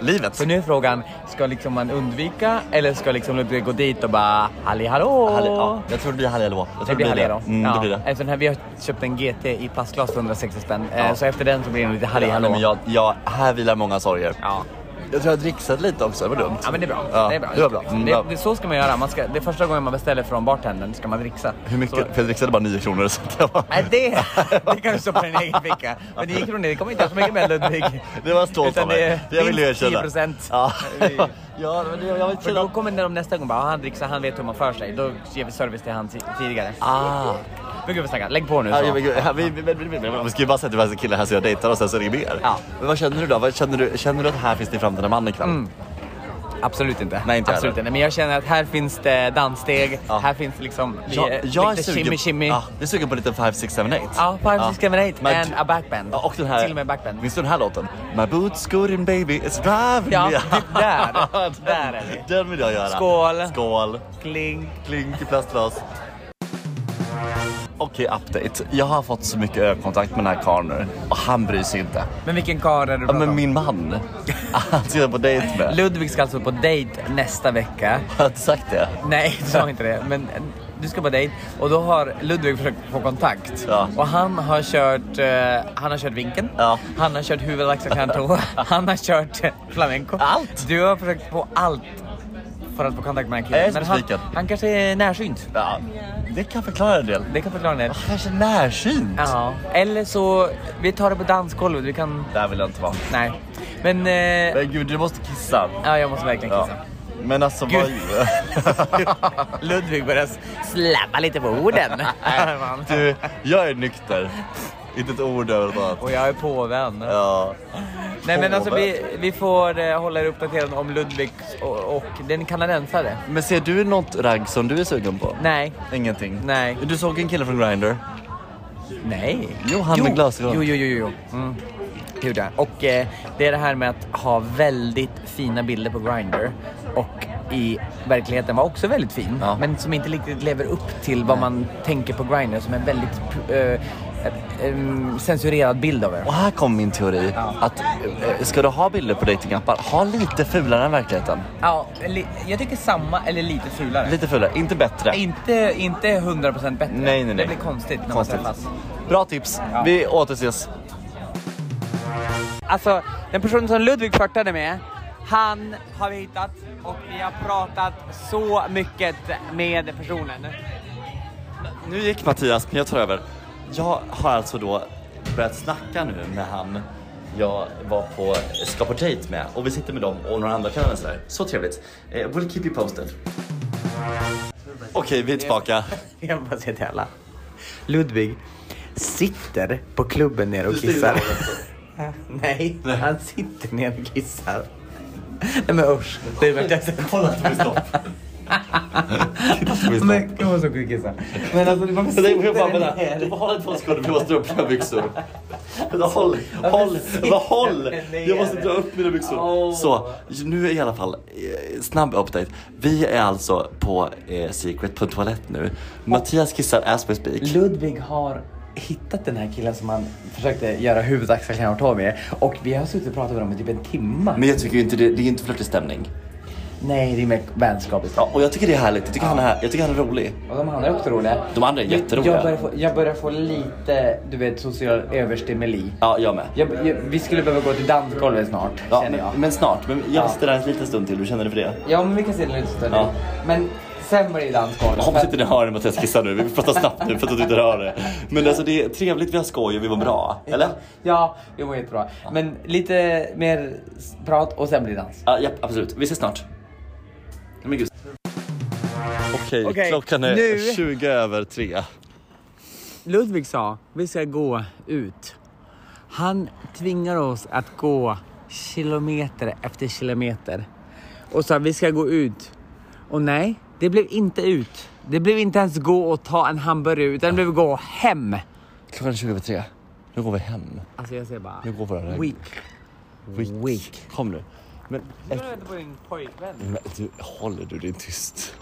[SPEAKER 2] Livet!
[SPEAKER 3] Så nu är frågan, ska liksom man undvika eller ska liksom Ludvig gå dit och bara halli hallå?
[SPEAKER 2] Halli- ja, jag tror det blir Halli eller vad? Jag tror
[SPEAKER 3] Det blir halli hallå.
[SPEAKER 2] Mm, det blir det.
[SPEAKER 3] Eftersom här, vi har köpt en GT i plastglas för 160 spänn. eh,
[SPEAKER 2] Ja.
[SPEAKER 3] Så efter den så blir det lite halli
[SPEAKER 2] Ja,
[SPEAKER 3] hallå.
[SPEAKER 2] nej, men jag, jag, här vilar många sorger.
[SPEAKER 3] ja.
[SPEAKER 2] Jag tror jag dricksat lite också, det var dumt.
[SPEAKER 3] Ja men det är bra.
[SPEAKER 2] Ja,
[SPEAKER 3] det är bra.
[SPEAKER 2] det var bra. Mm,
[SPEAKER 3] Det,
[SPEAKER 2] bra.
[SPEAKER 3] det, så ska man göra. Man ska, det är första gången man beställer från bartendern ska man dricksa.
[SPEAKER 2] Hur mycket?
[SPEAKER 3] Så,
[SPEAKER 2] För jag dricksade bara 9 kronor så att jag var...
[SPEAKER 3] nej det, det kan du stoppa i din egen ficka. Men det gick från det. Det kommer inte ha så mycket med Ludvig.
[SPEAKER 2] Det var stolt
[SPEAKER 3] Utan
[SPEAKER 2] av mig.
[SPEAKER 3] det är
[SPEAKER 2] jag vill ju
[SPEAKER 3] minst
[SPEAKER 2] erkänna.
[SPEAKER 3] 10%.
[SPEAKER 2] Ja, ja men det- jag vet
[SPEAKER 3] För
[SPEAKER 2] inte.
[SPEAKER 3] då kommer de nästa gång bara, "Ah, han dricksar, han vet hur man för sig. Då ger vi service till han ti- tidigare.
[SPEAKER 2] Ah.
[SPEAKER 3] Men gud vad snackar, lägg på nu.
[SPEAKER 2] Ja,
[SPEAKER 3] så.
[SPEAKER 2] men gud, ja, vi, vi, vi, vi, vi, vi ska ju bara säga att det var en kille här som jag dejtar och sen så är det mer.
[SPEAKER 3] Ja.
[SPEAKER 2] Men vad känner du då? Vad känner, du, känner du att här finns din framtida man ikväll?
[SPEAKER 3] Mm. Absolut inte.
[SPEAKER 2] Nej, inte jag
[SPEAKER 3] Absolut
[SPEAKER 2] heller.
[SPEAKER 3] inte. Men jag känner att här finns det danssteg,
[SPEAKER 2] Ja.
[SPEAKER 3] här finns det liksom
[SPEAKER 2] Jag,
[SPEAKER 3] lite-
[SPEAKER 2] jag, är
[SPEAKER 3] lite
[SPEAKER 2] sugen,
[SPEAKER 3] shimmy shimmy.
[SPEAKER 2] Ja,
[SPEAKER 3] Ja.
[SPEAKER 2] jag är sugen på lite 5, 6, 7, 8.
[SPEAKER 3] Five Discriminate
[SPEAKER 2] Men
[SPEAKER 3] and
[SPEAKER 2] du-
[SPEAKER 3] a backband.
[SPEAKER 2] Ja, och den här,
[SPEAKER 3] Till och med backband.
[SPEAKER 2] Minns du den här låten? My boots good and baby it's driving
[SPEAKER 3] Ja,
[SPEAKER 2] me.
[SPEAKER 3] det där.
[SPEAKER 2] Den-
[SPEAKER 3] Där är vi.
[SPEAKER 2] Den vill jag göra.
[SPEAKER 3] Skål.
[SPEAKER 2] Skål.
[SPEAKER 3] Kling.
[SPEAKER 2] Klink i plastglas. Okej, update. Jag har fått så mycket ögonkontakt med den här karln nu och han bryr sig inte.
[SPEAKER 3] Men vilken karl är det du
[SPEAKER 2] Ja,
[SPEAKER 3] pratar
[SPEAKER 2] men
[SPEAKER 3] om?
[SPEAKER 2] min man. Han ska jag på dejt med.
[SPEAKER 3] Ludvig ska alltså på dejt nästa vecka.
[SPEAKER 2] Har jag inte sagt det?
[SPEAKER 3] Nej, du sa inte det. Men du ska på dejt och då har Ludvig försökt få kontakt.
[SPEAKER 2] Ja.
[SPEAKER 3] Och han har kört, eh, han har kört vinkeln,
[SPEAKER 2] Ja.
[SPEAKER 3] han har kört huvud, lax och kanto, han har kört eh, flamenco.
[SPEAKER 2] Allt.
[SPEAKER 3] Du har försökt på allt för att få kontakt med den här
[SPEAKER 2] Jag är
[SPEAKER 3] killen. Men
[SPEAKER 2] så
[SPEAKER 3] han,
[SPEAKER 2] besviken.
[SPEAKER 3] han kanske är närsynt.
[SPEAKER 2] Ja, det kan förklara en del.
[SPEAKER 3] Det kan förklara en del.
[SPEAKER 2] Kanske närsynt.
[SPEAKER 3] Ja. Eller så, vi tar det på dansgolvet. Vi kan,
[SPEAKER 2] Där vill jag inte vara.
[SPEAKER 3] nej. Men, eh,
[SPEAKER 2] Men gud, du måste kissa.
[SPEAKER 3] ja jag måste verkligen
[SPEAKER 2] Ja.
[SPEAKER 3] kissa.
[SPEAKER 2] Men alltså
[SPEAKER 3] Gud.
[SPEAKER 2] vad...
[SPEAKER 3] Ludvig börjar släppa lite på orden.
[SPEAKER 2] du, jag är nykter. Inte ett ord över något annat.
[SPEAKER 3] och jag är påven.
[SPEAKER 2] Ja.
[SPEAKER 3] Nej men alltså
[SPEAKER 2] Påven.
[SPEAKER 3] vi, vi får eh, hålla er uppdaterade om Ludvig och, och den kanadensare.
[SPEAKER 2] Men ser du något ragg som du är sugen på?
[SPEAKER 3] Nej.
[SPEAKER 2] Ingenting?
[SPEAKER 3] Nej.
[SPEAKER 2] Du såg en kille från Grindr.
[SPEAKER 3] Nej.
[SPEAKER 2] Jo, han med glasögon.
[SPEAKER 3] Jo, jo, jo, jo. jo. Mm. Det gjorde jag. Och eh, det är det här med att ha väldigt fina bilder på Grindr och i verkligheten var också väldigt fin.
[SPEAKER 2] Ja.
[SPEAKER 3] Men som inte riktigt lever upp till vad man tänker på Grindr som en väldigt eh, eh, em, censurerad bild av er.
[SPEAKER 2] Och här kom min teori. Att eh, ska du ha bilder på datingappar, ha lite fulare än verkligheten.
[SPEAKER 3] Ja, li- jag tycker samma eller lite fulare.
[SPEAKER 2] Lite fulare, inte bättre.
[SPEAKER 3] Inte, inte 100% bättre.
[SPEAKER 2] Nej, nej, nej.
[SPEAKER 3] Det blir konstigt när
[SPEAKER 2] Konstigt.
[SPEAKER 3] man träffas.
[SPEAKER 2] Bra tips.
[SPEAKER 3] Ja.
[SPEAKER 2] Vi återses.
[SPEAKER 3] Alltså, den personen som Ludvig flörtade med, han har vi hittat och vi har pratat så mycket med personen.
[SPEAKER 2] Nu gick Mattias, men jag tar över. Jag har alltså då börjat snacka nu med han jag var på, ska på dejt med och vi sitter med dem och några andra kanadensare. sådär. Så trevligt. Eh, we'll keep you posted. Okej, vi är tillbaka.
[SPEAKER 3] Jag vill bara säga till alla. Ludvig sitter på klubben ner och
[SPEAKER 2] Du styr
[SPEAKER 3] kissar.
[SPEAKER 2] lagen, alltså.
[SPEAKER 3] Nej, han sitter ner och kissar. Nej men usch, det är verkligen
[SPEAKER 2] Kolla att det blir stopp.
[SPEAKER 3] Men gud vad så sjuk kissa. Men alltså varför
[SPEAKER 2] Så det- jag bara,
[SPEAKER 3] sitter den
[SPEAKER 2] vänta,
[SPEAKER 3] ner?
[SPEAKER 2] Du får hålla ett par sekunder för jag måste dra upp mina byxor. Vänta, Håll, håll, vad håll! Jag måste dra upp mina byxor. Så, nu i alla fall, eh, snabb update. Vi är alltså på eh, Secret, på en toalett nu. Mattias kissar as we speak.
[SPEAKER 3] Ludvig har hittat den här killen som han försökte göra huvudet Axel Kärnholt av med. Och vi har suttit och pratat med dem i typ en timma.
[SPEAKER 2] Men jag tycker ju inte det, det är inte flörtig stämning.
[SPEAKER 3] Nej, det är mer vänskap istället.
[SPEAKER 2] Ja, och jag tycker det är härligt, jag tycker, han, är, här- jag tycker han är rolig.
[SPEAKER 3] Och de andra är också roliga.
[SPEAKER 2] De andra är
[SPEAKER 3] Jag-
[SPEAKER 2] jätteroliga.
[SPEAKER 3] Jag börjar få, jag börjar få lite, du vet, social överstimuli.
[SPEAKER 2] Ja, jag med.
[SPEAKER 3] Jag, jag, vi skulle behöva gå till dansgolvet snart,
[SPEAKER 2] Ja,
[SPEAKER 3] känner jag.
[SPEAKER 2] men, men snart, men jag sitter där en liten stund till, hur känner du för det?
[SPEAKER 3] Ja, men vi kan se den lite större.
[SPEAKER 2] Ja.
[SPEAKER 3] Men sen var det ju dansgolv.
[SPEAKER 2] Jag hoppas inte ni hör när Mattias kissar nu, vi pratar snabbt nu för att du inte hör det. Men alltså det är trevligt, vi har skoj och vi var bra, eller?
[SPEAKER 3] Ja, vi mår jättebra. Men lite mer s- prat och sen blir det dans.
[SPEAKER 2] Ja, japp, absolut. Vi ses snart. Nej, Men gud. Okej,
[SPEAKER 3] Okej,
[SPEAKER 2] klockan är
[SPEAKER 3] nu-
[SPEAKER 2] 20 över tre.
[SPEAKER 3] Ludvig sa, vi ska gå ut. Han tvingar oss att gå kilometer efter kilometer. Och sa, vi ska gå ut. Och nej, det blev inte ut. Det blev inte ens gå och ta en hamburgare, utan det blev gå hem.
[SPEAKER 2] Klockan är 20 över tre. Nu går vi hem.
[SPEAKER 3] Alltså jag säger bara,
[SPEAKER 2] Nu går våra vägar.
[SPEAKER 3] week.
[SPEAKER 2] Week.
[SPEAKER 3] Week.
[SPEAKER 2] Kom nu. Men,
[SPEAKER 3] Jag väntar på din pojkvän.
[SPEAKER 2] men du, håller du din tyst?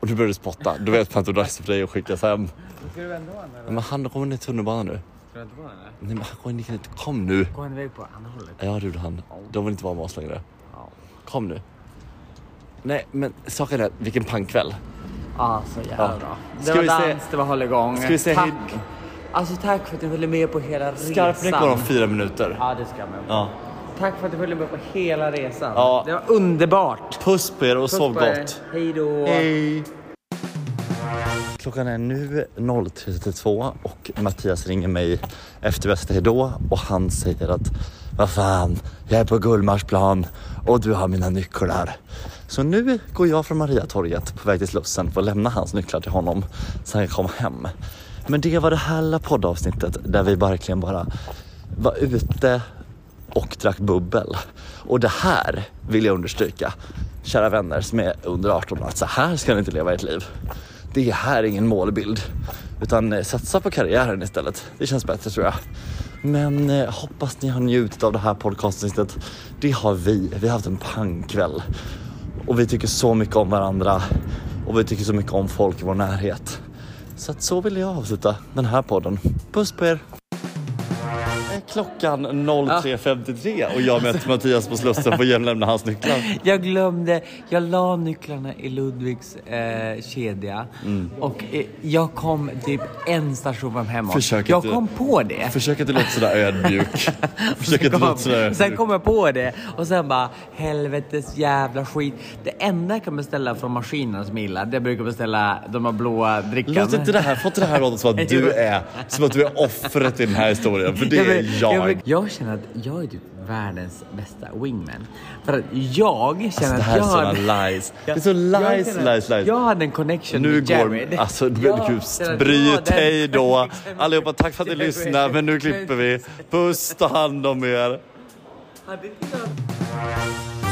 [SPEAKER 2] Och du började spotta. Du vet att det är dags för dig att skickas hem.
[SPEAKER 3] Ska du vända på honom eller?
[SPEAKER 2] Men han kommer ner i tunnelbanan nu.
[SPEAKER 3] Ska du vända på honom eller?
[SPEAKER 2] Nej men han går in i Kom nu.
[SPEAKER 3] Gå en väg på andra hållet.
[SPEAKER 2] Ja det gjorde han. De vill inte vara med oss längre.
[SPEAKER 3] Ja.
[SPEAKER 2] Kom nu. Nej men saken är, vilken pangkväll.
[SPEAKER 3] Ja, så jävla
[SPEAKER 2] Ja.
[SPEAKER 3] bra. Det
[SPEAKER 2] Ska
[SPEAKER 3] var
[SPEAKER 2] vi
[SPEAKER 3] dans,
[SPEAKER 2] se-
[SPEAKER 3] det var hålligång.
[SPEAKER 2] Ska vi se-
[SPEAKER 3] tack. Alltså tack för att du följde med på hela
[SPEAKER 2] Skarpnäck
[SPEAKER 3] resan.
[SPEAKER 2] går om fyra minuter.
[SPEAKER 3] Ja, det ska man.
[SPEAKER 2] Ja.
[SPEAKER 3] Tack för att du följde med på hela resan.
[SPEAKER 2] Ja.
[SPEAKER 3] Det var underbart.
[SPEAKER 2] Puss på er och sov
[SPEAKER 3] Puss på er.
[SPEAKER 2] gott.
[SPEAKER 3] Hej då.
[SPEAKER 2] Hej! Klockan är nu 03.32 och Mattias ringer mig efter bästa hejdå och han säger att vad fan, jag är på Gullmarsplan och du har mina nycklar. Så nu går jag från Mariatorget på väg till Slussen för att lämna hans nycklar till honom så han kan komma hem. Men det var det här lilla poddavsnittet där vi verkligen bara var ute och drack bubbel. Och det här vill jag understryka, kära vänner som är under 18, att så här ska ni inte leva ert liv. Det här är ingen målbild, utan eh, satsa på karriären istället. Det känns bättre tror jag. Men eh, hoppas ni har njutit av det här podcastavsnittet. Det har vi. Vi har haft en pangkväll och vi tycker så mycket om varandra och vi tycker så mycket om folk i vår närhet. Så att så vill jag avsluta den här podden. Puss på er! Är Klockan 03.53 och jag mötte Mattias på Slussen för att lämna hans nycklar.
[SPEAKER 3] Jag glömde, jag la nycklarna i Ludvigs eh, kedja
[SPEAKER 2] Mm.
[SPEAKER 3] och eh, jag kom typ en station från hemåt.
[SPEAKER 2] Försök
[SPEAKER 3] jag
[SPEAKER 2] inte-
[SPEAKER 3] kom på det.
[SPEAKER 2] Försök att du låter sådär ödmjuk. Försök att du låter sådär
[SPEAKER 3] Kom. Sen
[SPEAKER 2] ödmjuk.
[SPEAKER 3] kom jag på det och sen bara helvetes jävla skit. Det enda jag kan beställa från maskinen som jag gillar, det jag brukar beställa de här blåa drickan.
[SPEAKER 2] Låt inte det här, få inte det här låta som att du är, som att du är offret i den här historien. För det
[SPEAKER 3] Jag
[SPEAKER 2] är
[SPEAKER 3] vill- jag vill-
[SPEAKER 2] jag.
[SPEAKER 3] Jag känner att jag är typ världens bästa wingman. För att jag känner
[SPEAKER 2] Alltså, det
[SPEAKER 3] att
[SPEAKER 2] här är
[SPEAKER 3] jag
[SPEAKER 2] såna
[SPEAKER 3] hade-
[SPEAKER 2] lies. Det är så
[SPEAKER 3] Jag
[SPEAKER 2] lies,
[SPEAKER 3] känner-
[SPEAKER 2] lies, lies.
[SPEAKER 3] Jag hade en connection
[SPEAKER 2] Nu
[SPEAKER 3] med
[SPEAKER 2] går...
[SPEAKER 3] Jared.
[SPEAKER 2] Alltså, men
[SPEAKER 3] Jag
[SPEAKER 2] gud,
[SPEAKER 3] känner att jag
[SPEAKER 2] bryt
[SPEAKER 3] hade en
[SPEAKER 2] hej då.
[SPEAKER 3] connection med
[SPEAKER 2] Allihopa, tack för att ni
[SPEAKER 3] Jared.
[SPEAKER 2] lyssnar, men nu klipper vi. Puss, ta hand om er.
[SPEAKER 3] Hade inte jag